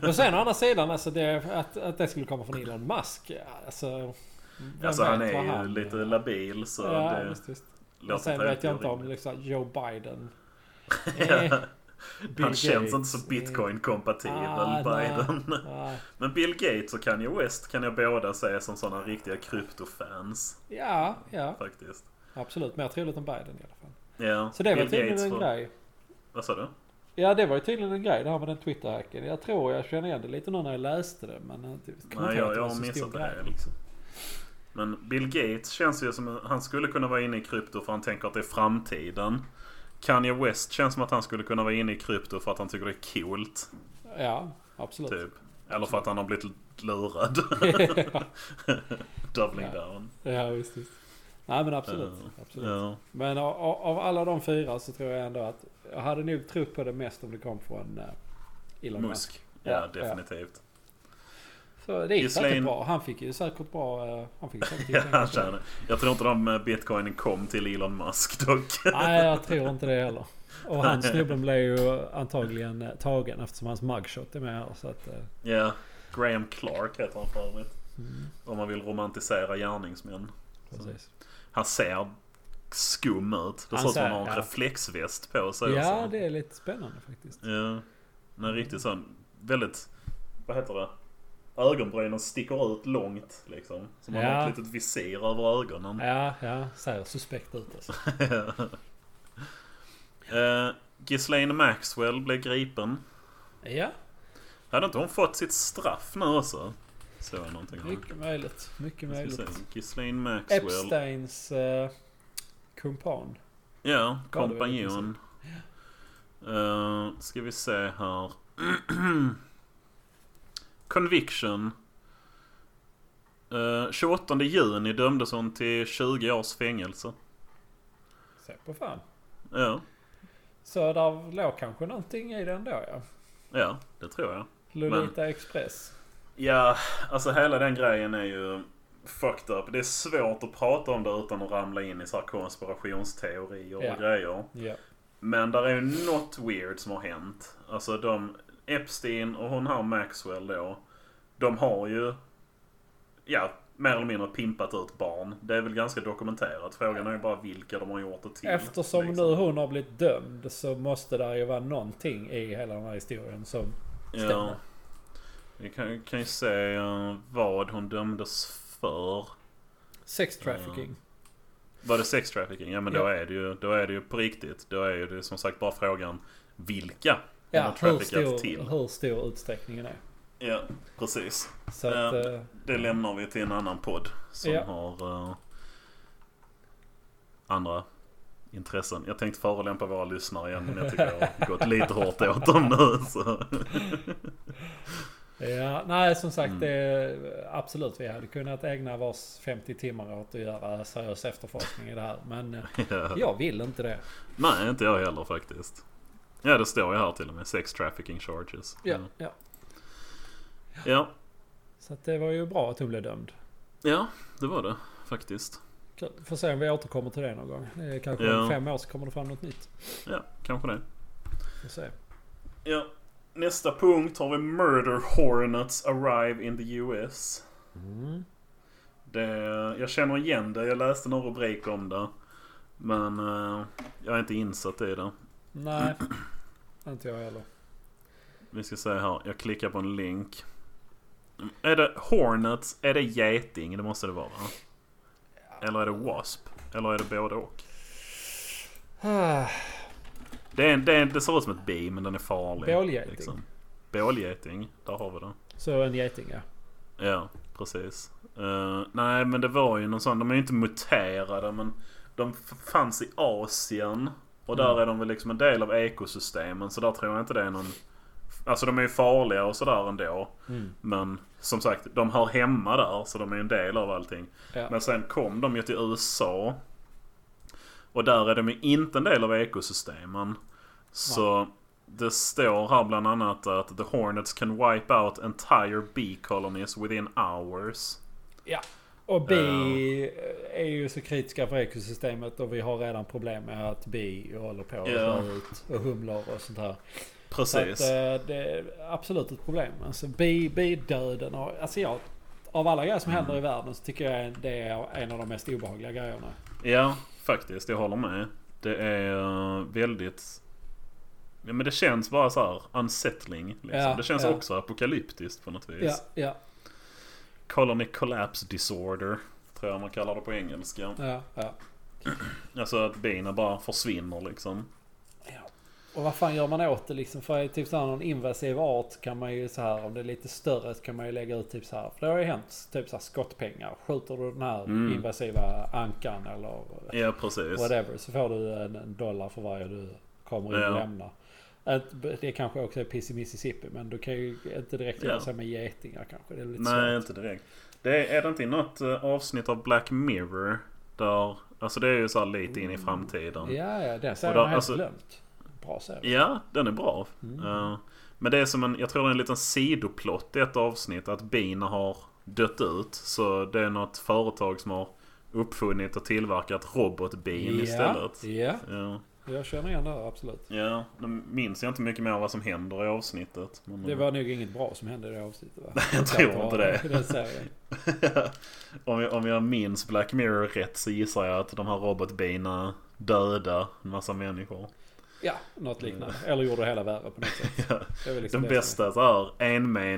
Men sen å andra sidan, alltså det, att, att det skulle komma från Elon Musk. ja, Alltså, vem Alltså han vet vad är ju lite labil så Ja, det visst, visst. Men låter sen helt vet jag inte om orimligt. liksom, Joe <laughs> Biden. Ja. Bill Han känns Gates, inte så eh, bitcoin-kompatibel, ah, Biden. <laughs> nej, nej. Men Bill Gates och Kanye West kan jag båda säga som sådana riktiga kryptofans Ja, ja. faktiskt. Absolut. Mer troligt än Biden i alla fall. Ja, Så det var Bill tydligen en för- grej. Vad sa du? Ja, det var ju tydligen en grej det här med den Twitter-hacken. Jag tror jag känner igen det lite nu när jag läste det. Men jag typ- kommer Nej, inte ihåg jag- att jag var har så stor missat det här. grej, liksom. Men Bill Gates känns ju som han skulle kunna vara inne i krypto för han tänker att det är framtiden. Kanye West känns som att han skulle kunna vara inne i krypto för att han tycker det är coolt. Ja, absolut. Typ. Eller för att han har blivit lurad. <laughs> Typ. <laughs> Doubling Ja. down. Ja, visst, visst. Nej, men absolut. Eh, absolut. Ja. Men av, av av alla de fyra så tror jag ändå att jag hade nog trott på det mest om det kom från eh, Elon Musk. Musk. Ja, Ja, definitivt. Så det gick Ghislaine- säkert bra. Han fick ju säkert bra... eh, Han fick <laughs> säkert Ja, han pengar. tjänar. Jag tror inte de eh, bitcoinen kom till Elon Musk <laughs> dock. Nej, jag tror inte det heller. Och <laughs> han snubben blev ju antagligen eh, tagen eftersom hans mugshot är med här. Så att, eh, Ja, Graham Clark heter han för övrigt. mm, Om man vill romantisera gärningsmän. precis. Han ser skum ut. Det Han ser ut som ser- han har en ja. reflexväst på sig. Ja, också. det är lite spännande faktiskt. Ja. En riktigt sån, väldigt, vad heter det? Ögonbrynen sticker ut långt liksom. Som man Ja. har ett litet visir över ögonen. Ja, ja. Ser suspekt ut <laughs> alltså. Eh, Ghislaine Maxwell blev gripen. Ja, Hade inte hon fått sitt straff nu också? Så jag någonting om. mycket möjligt. Mycket Jag ska möjligt. se. Ghislaine Maxwell. Epsteins eh, kumpan. Ja, Gav det väl i kompanjon. Eh, ska vi se här. <clears throat> Conviction. Uh, 28 juni dömdes hon till 20 års fängelse. Se på fan. Ja, Så där låg kanske någonting i den då ja. ja det tror jag. Lolita Express. Ja, alltså hela den grejen är ju fucked up. Det är svårt att prata om det utan att ramla in i så här konspirationsteorier och Ja. grejer. Ja. Men där är ju något weird som har hänt. Alltså de, Epstein och hon här Maxwell då. De har ju, ja, mer eller mindre pimpat ut barn. Det är väl ganska dokumenterat. Frågan är ju bara vilka de har gjort det till. Eftersom liksom. nu hon har blivit dömd så måste det ju vara någonting i hela den här historien som Ja. stämmer. Vi kan, kan ju se eh, vad hon dömdes för. sex trafficking. Var det sex trafficking? Ja men då, Ja. är det ju, då är det ju på riktigt. Då är det som sagt bara frågan vilka hon har Ja, hur traffickat till. stor, hur stor utsträckningen är. Ja, precis. Så att, Ja. eh, Det lämnar vi till en annan podd som Ja. har eh, andra intressen. Jag tänkte förolämpa våra lyssnare igen men jag tycker jag har gått lite hårt åt dem nu. Så. eh, Ja, nej som Mm. sagt det är absolut vi hade kunnat ägna vars 50 timmar åt att göra seriös efterforskning i det här. Men eh, Ja. jag vill inte det. Nej, inte jag heller faktiskt. Ja, det står ju här till och med. Sex trafficking charges. Ja, Ja. ja. ja, Så att det var ju bra att hon blev dömd. ja det var det faktiskt. Kul. Får se om vi återkommer till det någon gång. Det är kanske Ja. om fem år så kommer det fram något nytt. Ja, kanske det. Får se. Ja. Nästa punkt har vi Murder Hornets Arrive in the US. Mm. Det, jag känner igen det. Jag läste någon rubrik om det. Men eh, jag är inte insatt i det. Nej, <clears throat> inte jag heller. <sighs> Vi ska se här. Jag klickar på en länk. Är det Hornets? Är det geting? Det måste det vara. Eller är det Wasp? Eller är det både och? Ah, Det, är, en- det, är, en- det ser ut som ett bi men den är farlig. liksom. Bålgeting. Bålgeting. Där har vi det. Så en geting ja. Ja, precis. Eh, nej, men det var ju någon sån. De är ju inte muterade, men de f- fanns i Asien. Och där Mm. är de väl liksom en del av ekosystemen, så där tror jag inte det är någon... Alltså de är ju farliga och sådär ändå. Mm. Men som sagt, de hör hemma där, så de är ju en del av allting. Ja. Men sen kom de ju till USA. Och där är de ju inte en del av ekosystemen. Så det står här bland annat att the hornets can wipe out entire bee colonies within hours. Och bi är ju så kritiska för ekosystemet och vi har redan problem med att bi håller på och Ja. drar ut och humlar och sånt här. Så att, Precis. eh, det är absolut ett problem. Alltså bi, bidöden har... Alltså jag... Av alla grejer som händer i Mm. världen så tycker jag det är en av de mest obehagliga grejerna. Ja, faktiskt. Jag håller med. Det är eh, väldigt... Ja, men det känns bara så här unsettling. Liksom. Ja, det känns ja. också apokalyptiskt på något vis. Ja, ja, Colony collapse disorder. Tror jag man kallar det på engelska. ja, ja. Alltså att bina bara försvinner liksom. ja. Och vad fan gör man åt det liksom? För typ så här någon invasiv art kan man ju så här om det är lite större så kan man ju lägga ut typ så här. För det har ju hänt typ så här skottpengar. Skjuter du den här Mm. invasiva ankan eller Ja, precis. whatever så får du en dollar för varje du kommer in och Ja. lämnar. Att Det kanske också är piss i Mississippi men du kan ju inte direkt Ja. göra så med getingar kanske. Det är lite Nej, Nej. inte direkt. Det är, är det inte i något eh, avsnitt av Black Mirror där... Alltså det är ju så här lite in i framtiden. Mm. Ja, ja, den serien Och då- har jag helt alltså- glömt. Bra serie. Ja, den är bra. Mm. Eh, men det är som en, jag tror det är en liten sidoplott i ett avsnitt att bin har dött ut. Så det är något företag som har uppfunnit och tillverkat robotbin ja, istället. Ja, Ja. jag känner igen det här, absolut. Ja, nu minns jag inte mycket mer vad som händer i avsnittet. Men, Det var nog inget bra som hände i det avsnittet va? <laughs> jag tror inte det. I <laughs> den serien. om, jag, om jag minns Black Mirror rätt så gissar jag att de här robotbina döda en <laughs> massa människor. Ja, något liknande. Eller gjorde hela värre på något sätt. Det är väl liksom Mm. Den det som- bästa så här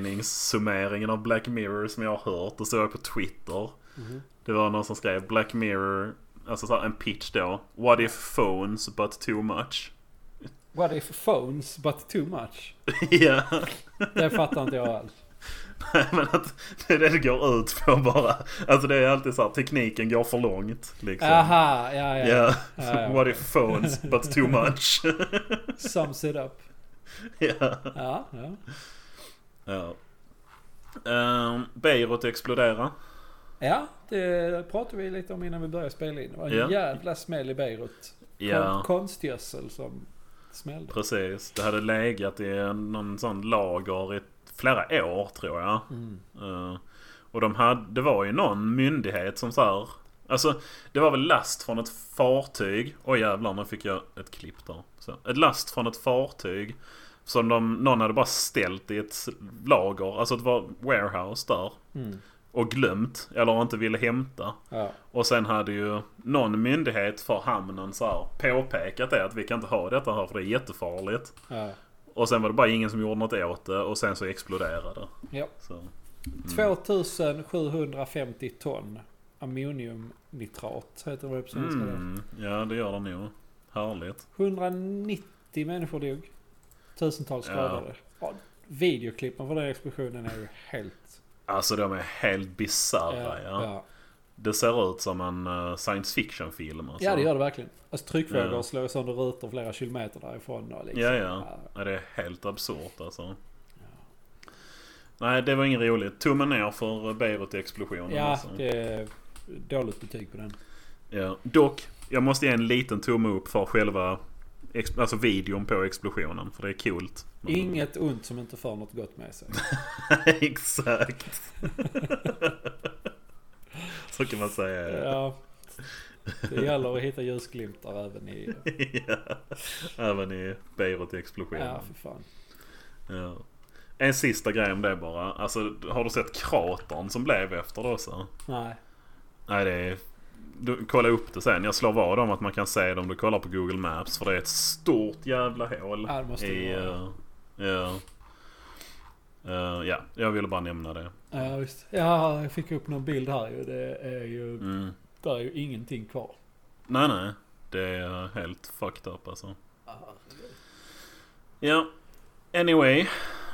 enmeningssummeringen av Black Mirror som jag har hört, det såg jag på Twitter. Mhm. Det var någon som skrev Black Mirror, alltså så här en pitch då. What if phones but too much? <laughs> What if phones but too much? Ja, <laughs> Det fattar inte jag alls. men att det är det det går ut på bara. Alltså det är alltid så här, tekniken går för långt liksom. Aha, ja ja. Ja, Ja, <laughs> ja. what if phones but too much? <laughs> Sums it up. Ja. Ja, ja. Ja. Um, Beirut explodera. ja det pratade vi lite om innan vi började spela in. Det var en Ja. jävla smäll i Beirut. Kon- konstgödsel som smällde. precis. Det hade legat i någon sån lager i flera år tror jag. Mm. Eh, och de hade, det var ju någon myndighet som så här. Alltså det var väl last från ett fartyg. Oj jävlar nu fick jag ett klipp där. Så, ett last från ett fartyg. Som de, någon hade bara ställt i ett lager. Alltså det var warehouse där. Mm. Och glömt. Eller inte ville hämta. Ja. Och sen hade ju någon myndighet för hamnen så här påpekat det att vi kan inte ha detta här för det är jättefarligt. Ja. Och sen var det bara ingen som gjorde något åt det och sen så exploderade det. Ja. Så, 2750 ton ammoniumnitrat heter det på svenska. mm, ja det gör det nog. Härligt. 190 människor dog. Tusentals Ja. skadade. Ja. Videoklippen för den explosionen är ju helt... eh, Alltså de är helt bisarra ja. ja. Det ser ut som en eh, science fiction film alltså. ja, det gör det verkligen. Alltså tryckvågor Ja. slår sönder rutor flera kilometer därifrån. Och liksom. Ja, ja. Ja, det är helt absurt alltså. Nej det var inget roligt. Tummen ner för eh, Beirut-explosionen. Ja, alltså. det är dåligt betyg på den. Ja, dock. Jag måste ge en liten tumme upp för själva ex- alltså videon på explosionen. För det är coolt. Men- Inget ont som inte för något gott med sig. <laughs> Exakt. <laughs> Så kan man säga. <laughs> Ja. Ja. Det gäller att hitta ljusglimtar även i... Även i Ja, Beirut-explosionen. för fan. Ja. En sista grej om det bara. Alltså, har du sett kratern som blev efter det också? Nej. Nej, det är... Du, kolla upp det sen. Jag slår vad om att man kan se det om du kollar på Google Maps. För det är ett stort jävla hål. Ja, det måste i... det vara. eh, Ja. Eh, ja, jag ville bara nämna det. Ja, visst. Ja, jag fick upp någon bild här ju. Det är ju... Mm. Där är ju ingenting kvar. Nej, nej. Det är helt fucked up alltså. Ja. Anyway.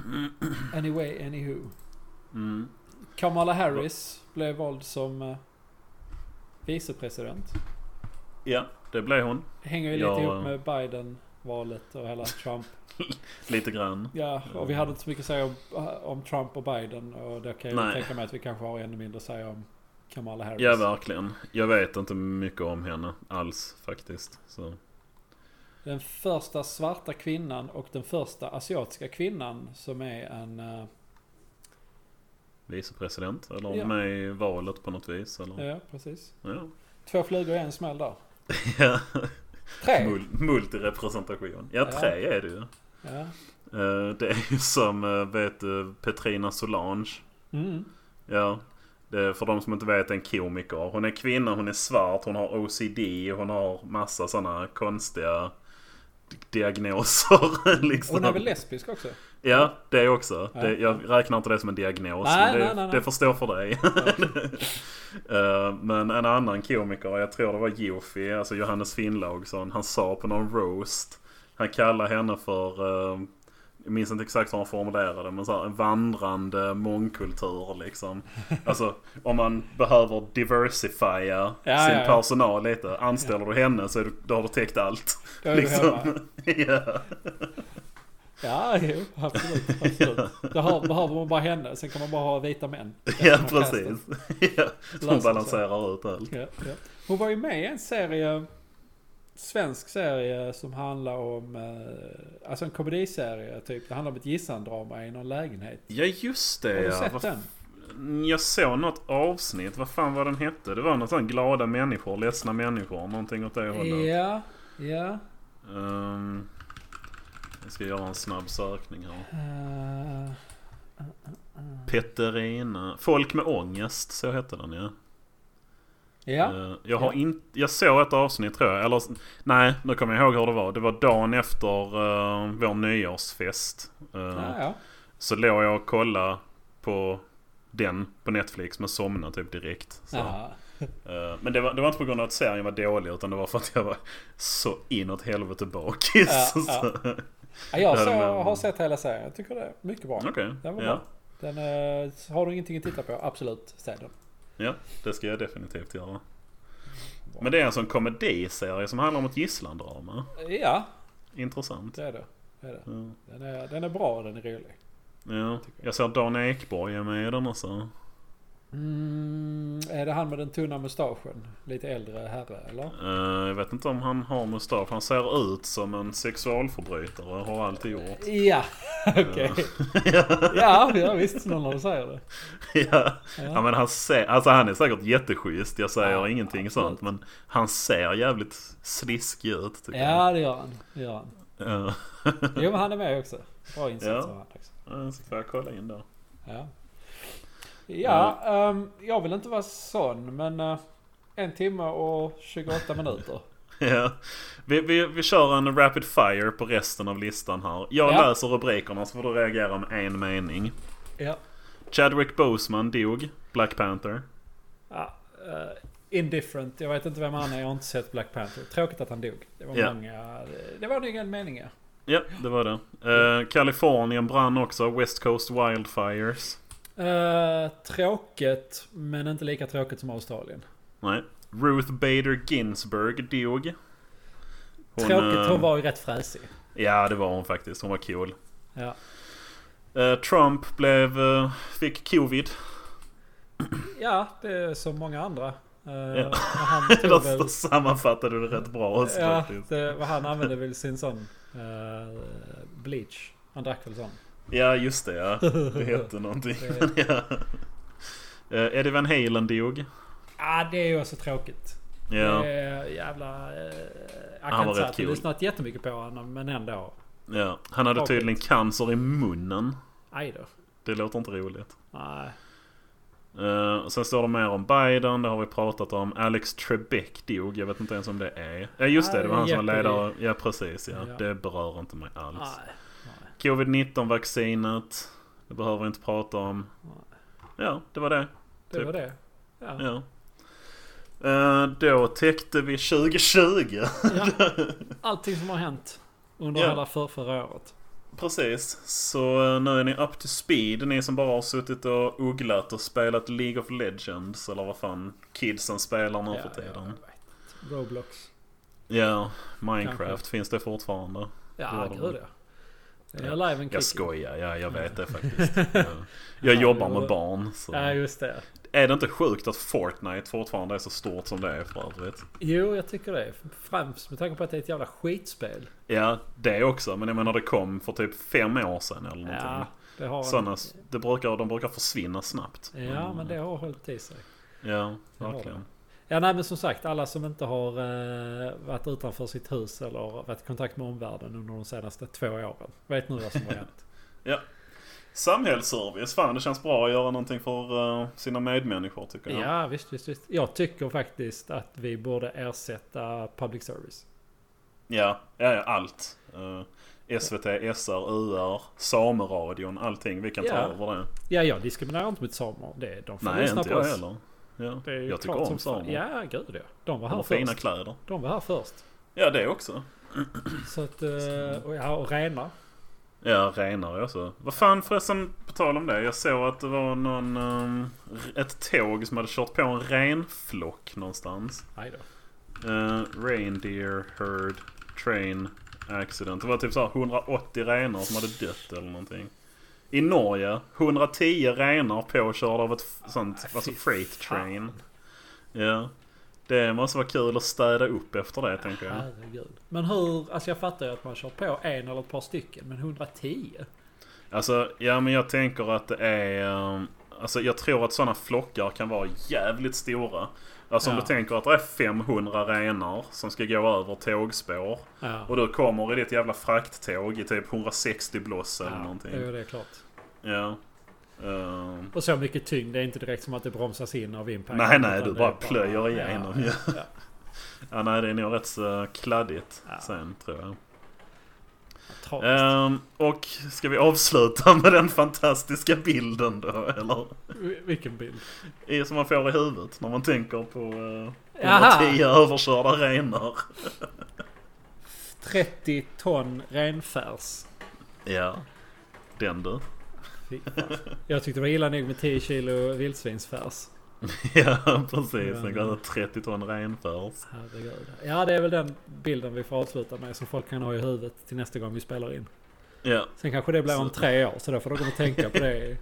Mm. Anyway, anywho. Mm. Kamala Harris blev vald som eh, vicepresident. Ja, det blev hon. Hänger ju Ja, lite eh. ihop med Biden-valet och hela Trump. Lite grann. Ja, och vi hade inte så mycket att säga om, eh, om Trump och Biden. Och där kan jag ju Nej. tänka mig att vi kanske har ännu mindre att säga om Kamala Harris. Ja, verkligen. Jag vet inte mycket om henne alls faktiskt. Så. Den första svarta kvinnan och den första asiatiska kvinnan som är en... eh, Vicepresident eller Ja. med i valet på något vis. Eller? Ja, precis. Ja. <laughs> Två flugor i en smäll där. Ja. Tre! Mul- multirepresentation. Ja, Ja. tre är det ju. Ja. Eh, Det är ju som, eh, vet du, Petrina Solange. Mm. Ja. Det är för de som inte vet en komiker. Hon är kvinna, hon är svart, hon har OCD, hon har massa sådana konstiga di- diagnoser. <laughs> liksom. Hon är väl lesbisk också? Ja, det också. Ja. Det, jag räknar inte det som en diagnos. Nej, men det, nej, nej, nej. det förstår för dig. <laughs> Eh, men en annan komiker, jag tror det var Jofi, alltså Johannes Finnlaugsson, han sa på någon roast Han kallar henne för, eh, jag minns inte exakt hur han formulerade det, men så här, en vandrande mångkultur <laughs> liksom. Alltså om man behöver diversifiera Ja, sin ja, ja. personal lite. Anställer du henne så är du, då har du täckt allt. <laughs> Då är du Liksom. hemma. ja. Ja, jo, absolut. absolut. Då har, behöver man bara henne. Sen kan man bara ha vita män. ja, Resten av precis. casten. <laughs> ja. <laughs> Löser Som sig. balanserar ut allt. Ja, ja. Hon var ju med i en serie, svensk serie som handlar om, eh, alltså en komediserie typ. Det handlar om ett gisslandrama i någon lägenhet. Ja, just Har det du ja. sett Vad den? Mm, Jag såg något avsnitt, vad fan var den hette? Det var något sånt glada människor, ledsna människor, någonting åt det hållet. Ja, ja. Ehm, jag ska göra en snabb sökning här. Eh, Petterina. Folk med ångest, så hette den ja. ja, Eh, jag har Ja. inte, jag såg ett avsnitt tror jag. Eller, s- nej, nu kommer jag ihåg hur det var. Det var dagen efter uh, vår nyårsfest. Eh, Ah, ja, ja. Så låg jag och kollade på den på Netflix men somnade typ direkt. Så. Jaha. Eh, Men det var, det var inte på grund av att serien var dålig utan det var för att jag var så inåt helvete bakis. <laughs> Ja, Så- Ja, jag Där så, med- har sett hela serien. Jag tycker det är mycket bra. Okej, Den var ja. bra. Den, eh, har du ingenting att titta på? Absolut, se den. ja. Det ska jag definitivt göra. Men det är alltså en komediserie som handlar om ett gisslandrama. Eh, Ja, Intressant. det är det. det, är det. Ja. Den, är, den är bra och den är rolig. Ja. Tycker jag. Jag ser att Dan Ekborg är med i den också. Mm, är det han med den tunna mustaschen? Lite äldre herre, eller? Eh, Jag vet inte om han har mustasch. Han ser ut som en sexualförbrytare och har alltid gjort. Ja, <laughs> okej. <laughs> Ja, ja, visst. Någon av dem säger det. Ja. Ja. Ja, men han, ser, alltså han är säkert jätteschysst, jag säger Ja, ingenting absolut. sånt. Men han ser jävligt sliskig ut tycker Ja, det gör han. Det gör han. jag. Ja. Jo, men han är med också. Bra insats Ja. av han också. <laughs> Ja, Så får jag kolla in då. Ja, ja ehm, jag vill inte vara sån, men eh, en timme och 28 minuter. Ja. Vi, vi, vi kör en rapid fire på resten av listan här. Jag Ja. läser rubrikerna så får du reagera med en mening. Ja. Chadwick Boseman dog. Black Panther. Ja, eh, indifferent. Jag vet inte vem han är. Jag har inte sett Black Panther. Tråkigt att han dog. Det var Ja. många... eh, Det var nog en mening, ja. Ja, det var det. Eh, Kalifornien brann också. West Coast Wildfires. Eh, tråkigt, men inte lika tråkigt som Australien. Nej. Ruth Bader Ginsburg dog. Hon, tråkigt, eh, hon var ju rätt fräsig. Ja, det var hon faktiskt. Hon var cool. Ja. Eh, Trump blev, eh, fick covid. <laughs> ja, det är som många andra. Eh, men <laughs> Han Då tog väl, så sammanfattade du det rätt bra också ja, faktiskt. det, vad han använde väl sin sån eh, bleach. Han drack väl sån. Ja, just det ja. Det <laughs> hette någonting. Men, ja. Eh, Eddie Van Halen dog. Ah, det är ju också tråkigt. Ja, Det är jävla... eh, jag var kan inte rätt säga att jag cool. lyssnat jättemycket på honom, men ändå. ja. Han hade Tråkigt. tydligen cancer i munnen. Aj då. Det låter inte roligt. Nej. Eh, och sen står det mer om Biden, det har vi pratat om. Alex Trebek dog, jag vet inte ens om det är. Ja just det, det var han som var Jeopardy. ledare. Ja precis ja. Ja. Ah. Det berör inte mig alls. Nej. Covid-19-vaccinet. Det behöver vi inte prata om. Ja, det var det. Det Typ. var det. Ja. Ja. Eh, då täckte vi 2020. Ja. Allting som har hänt under Ja. hela för, förra året. <laughs> Precis. Så eh, nu är ni up to speed. Ni som bara har suttit och ugglat och spelat League of Legends. Eller vad fan kidsen spelar nu Ja, för tiden. jag vet. Roblox. Ja, Minecraft. Kanske. Finns det fortfarande? Ja, Ja, gud ja. Det är live en Jag kick. skojar. Ja, jag <laughs> vet det faktiskt. Ja. Jag jobbar med barn. Så. Ja, just det. Är det inte sjukt att Fortnite fortfarande är så stort som det är för övrigt? Jo, jag tycker det. Främst med tanke på att det är ett jävla skitspel. Ja, det också. Men jag menar det kom för typ fem år sedan eller någonting. Ja, det har... en- Sådana, det brukar, de brukar försvinna snabbt. Mm. Ja, men det har hållit i sig. Ja, Det har verkligen. Ja, nej, men som sagt, alla som inte har eh, varit utanför sitt hus eller varit i kontakt med omvärlden under de senaste två åren. Vet nu vad som har hänt. Samhällsservice, fan det känns bra att göra någonting för eh, sina medmänniskor tycker jag. Ja, visst, visst, visst. Jag tycker faktiskt att vi borde ersätta public service. ja, ja, ja, allt. Eh, SVT, SR, UR, Sameradion, allting. Vi kan ta Ja. över det. Ja, jag diskriminerar inte mot samer. Det, de får Nej, lyssna inte på jag oss. heller. Ja. Det är ju Jag tycker klart om som fan. samer. Ja, gud ja. De var här De har fina först. kläder. De var här först. Ja, det också. Så att, eh, och, ja, och rena. Ja, renare också. Vad fan förresten, på tal om det. Jag såg att det var någon... ehm, ett tåg som hade kört på en renflock någonstans. Nej då. Eh, reindeer herd train accident. Det var typ så här 180 renar som hade dött eller någonting. I Norge, 110 renar påkörda av ett f- sånt, Nej, alltså Ah, fy freight fan. train. Ja. Det måste vara kul att städa upp efter det tänker jag. Herregud. Men hur, alltså jag fattar ju att man kör på en eller ett par stycken, men 110? Alltså, ja men jag tänker att det är... ehm, Alltså jag tror att sådana flockar kan vara jävligt stora. Alltså om Ja. du tänker att det är 500 renar som ska gå över tågspår. Ja, Och du kommer i ditt jävla frakttåg i typ 160 bloss eller ja någonting. jo, det är klart. Ja. Ehm, Och så mycket tyngd, det är inte direkt som att det bromsas in av impact. nej, nej, utan du det bara är plöjer igenom ju. Ja, Ja. <laughs> ja. nej, det är nog rätt så kladdigt Ja. sen tror jag. Tragiskt. Ehm, och ska vi avsluta med den fantastiska bilden då, eller? Vi- Vilken bild? I- Som man får i huvudet när man tänker på uh, Jaha. 110 överkörda renar. 30 ton renfärs. Ja, den du. <laughs> Fy fan. Jag tyckte det var illa nog med 10 kilo vildsvinsfärs. ja, precis. Ja. Den går över 30 ton renfärs. Herregud. Ja, det är väl den bilden vi får avsluta med som folk kan ha i huvudet till nästa gång vi spelar in. Ja, Sen kanske det blir om Så- tre år, så då får de gå och tänka på det i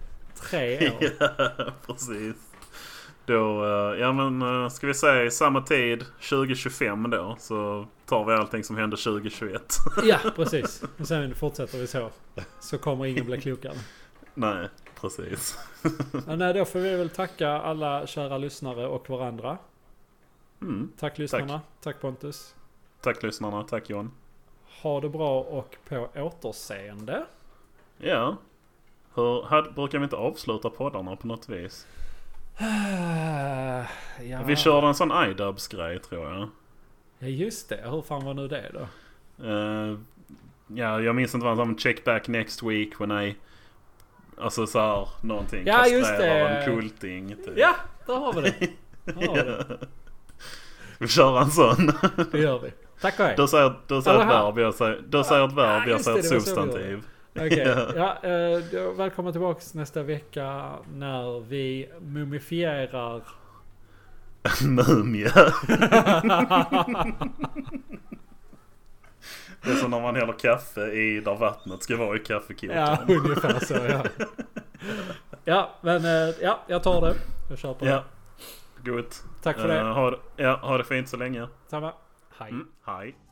tre <laughs> år. Ja, precis. Då, eh, ja men eh, ska vi säga i samma tid 2025 då så tar vi allting som hände 2021. Ja, precis. Och sen fortsätter vi så. Så kommer ingen bli klokare. <laughs> Nej, precis. Ja, nej, då får vi väl tacka alla kära lyssnare och varandra. Mm. Tack lyssnarna. Tack, Pontus. Tack lyssnarna, tack Johan. Ha det bra och på återseende. <sighs> Ja. Hur, hade, brukar vi inte avsluta poddarna på något vis? Ja, Vi körde en sån iDubbbz-grej tror jag. ja just det. Hur fan var nu det då? Eh, ja, jag minns inte vad han sa, men check back next week when I... Alltså såhär, någonting. Ja, just Kastrerar det. en kulting. Typ. Ja, där har vi det. Där har vi det. <laughs> Vi kör en sån. det gör vi. Tack och hej. Du säger, du säger ett Aha. verb, jag säger, du säger ett verb, Ah, jag just säger det, ett det var så vi gjorde. substantiv. <laughs> Okej. Ja, eh, då- välkomna tillbaks nästa vecka när vi mumifierar... <laughs> Mumie. Det är som när man häller kaffe i där vattnet ska vara i Ja, kaffekokaren. ungefär så ja. Ja, men eh, ja, jag tar det. Jag kör på det. Ja. Gott. Tack för det. Eh, ha, det- ja, ha det fint så länge. Samma. Hej. Mm, hej.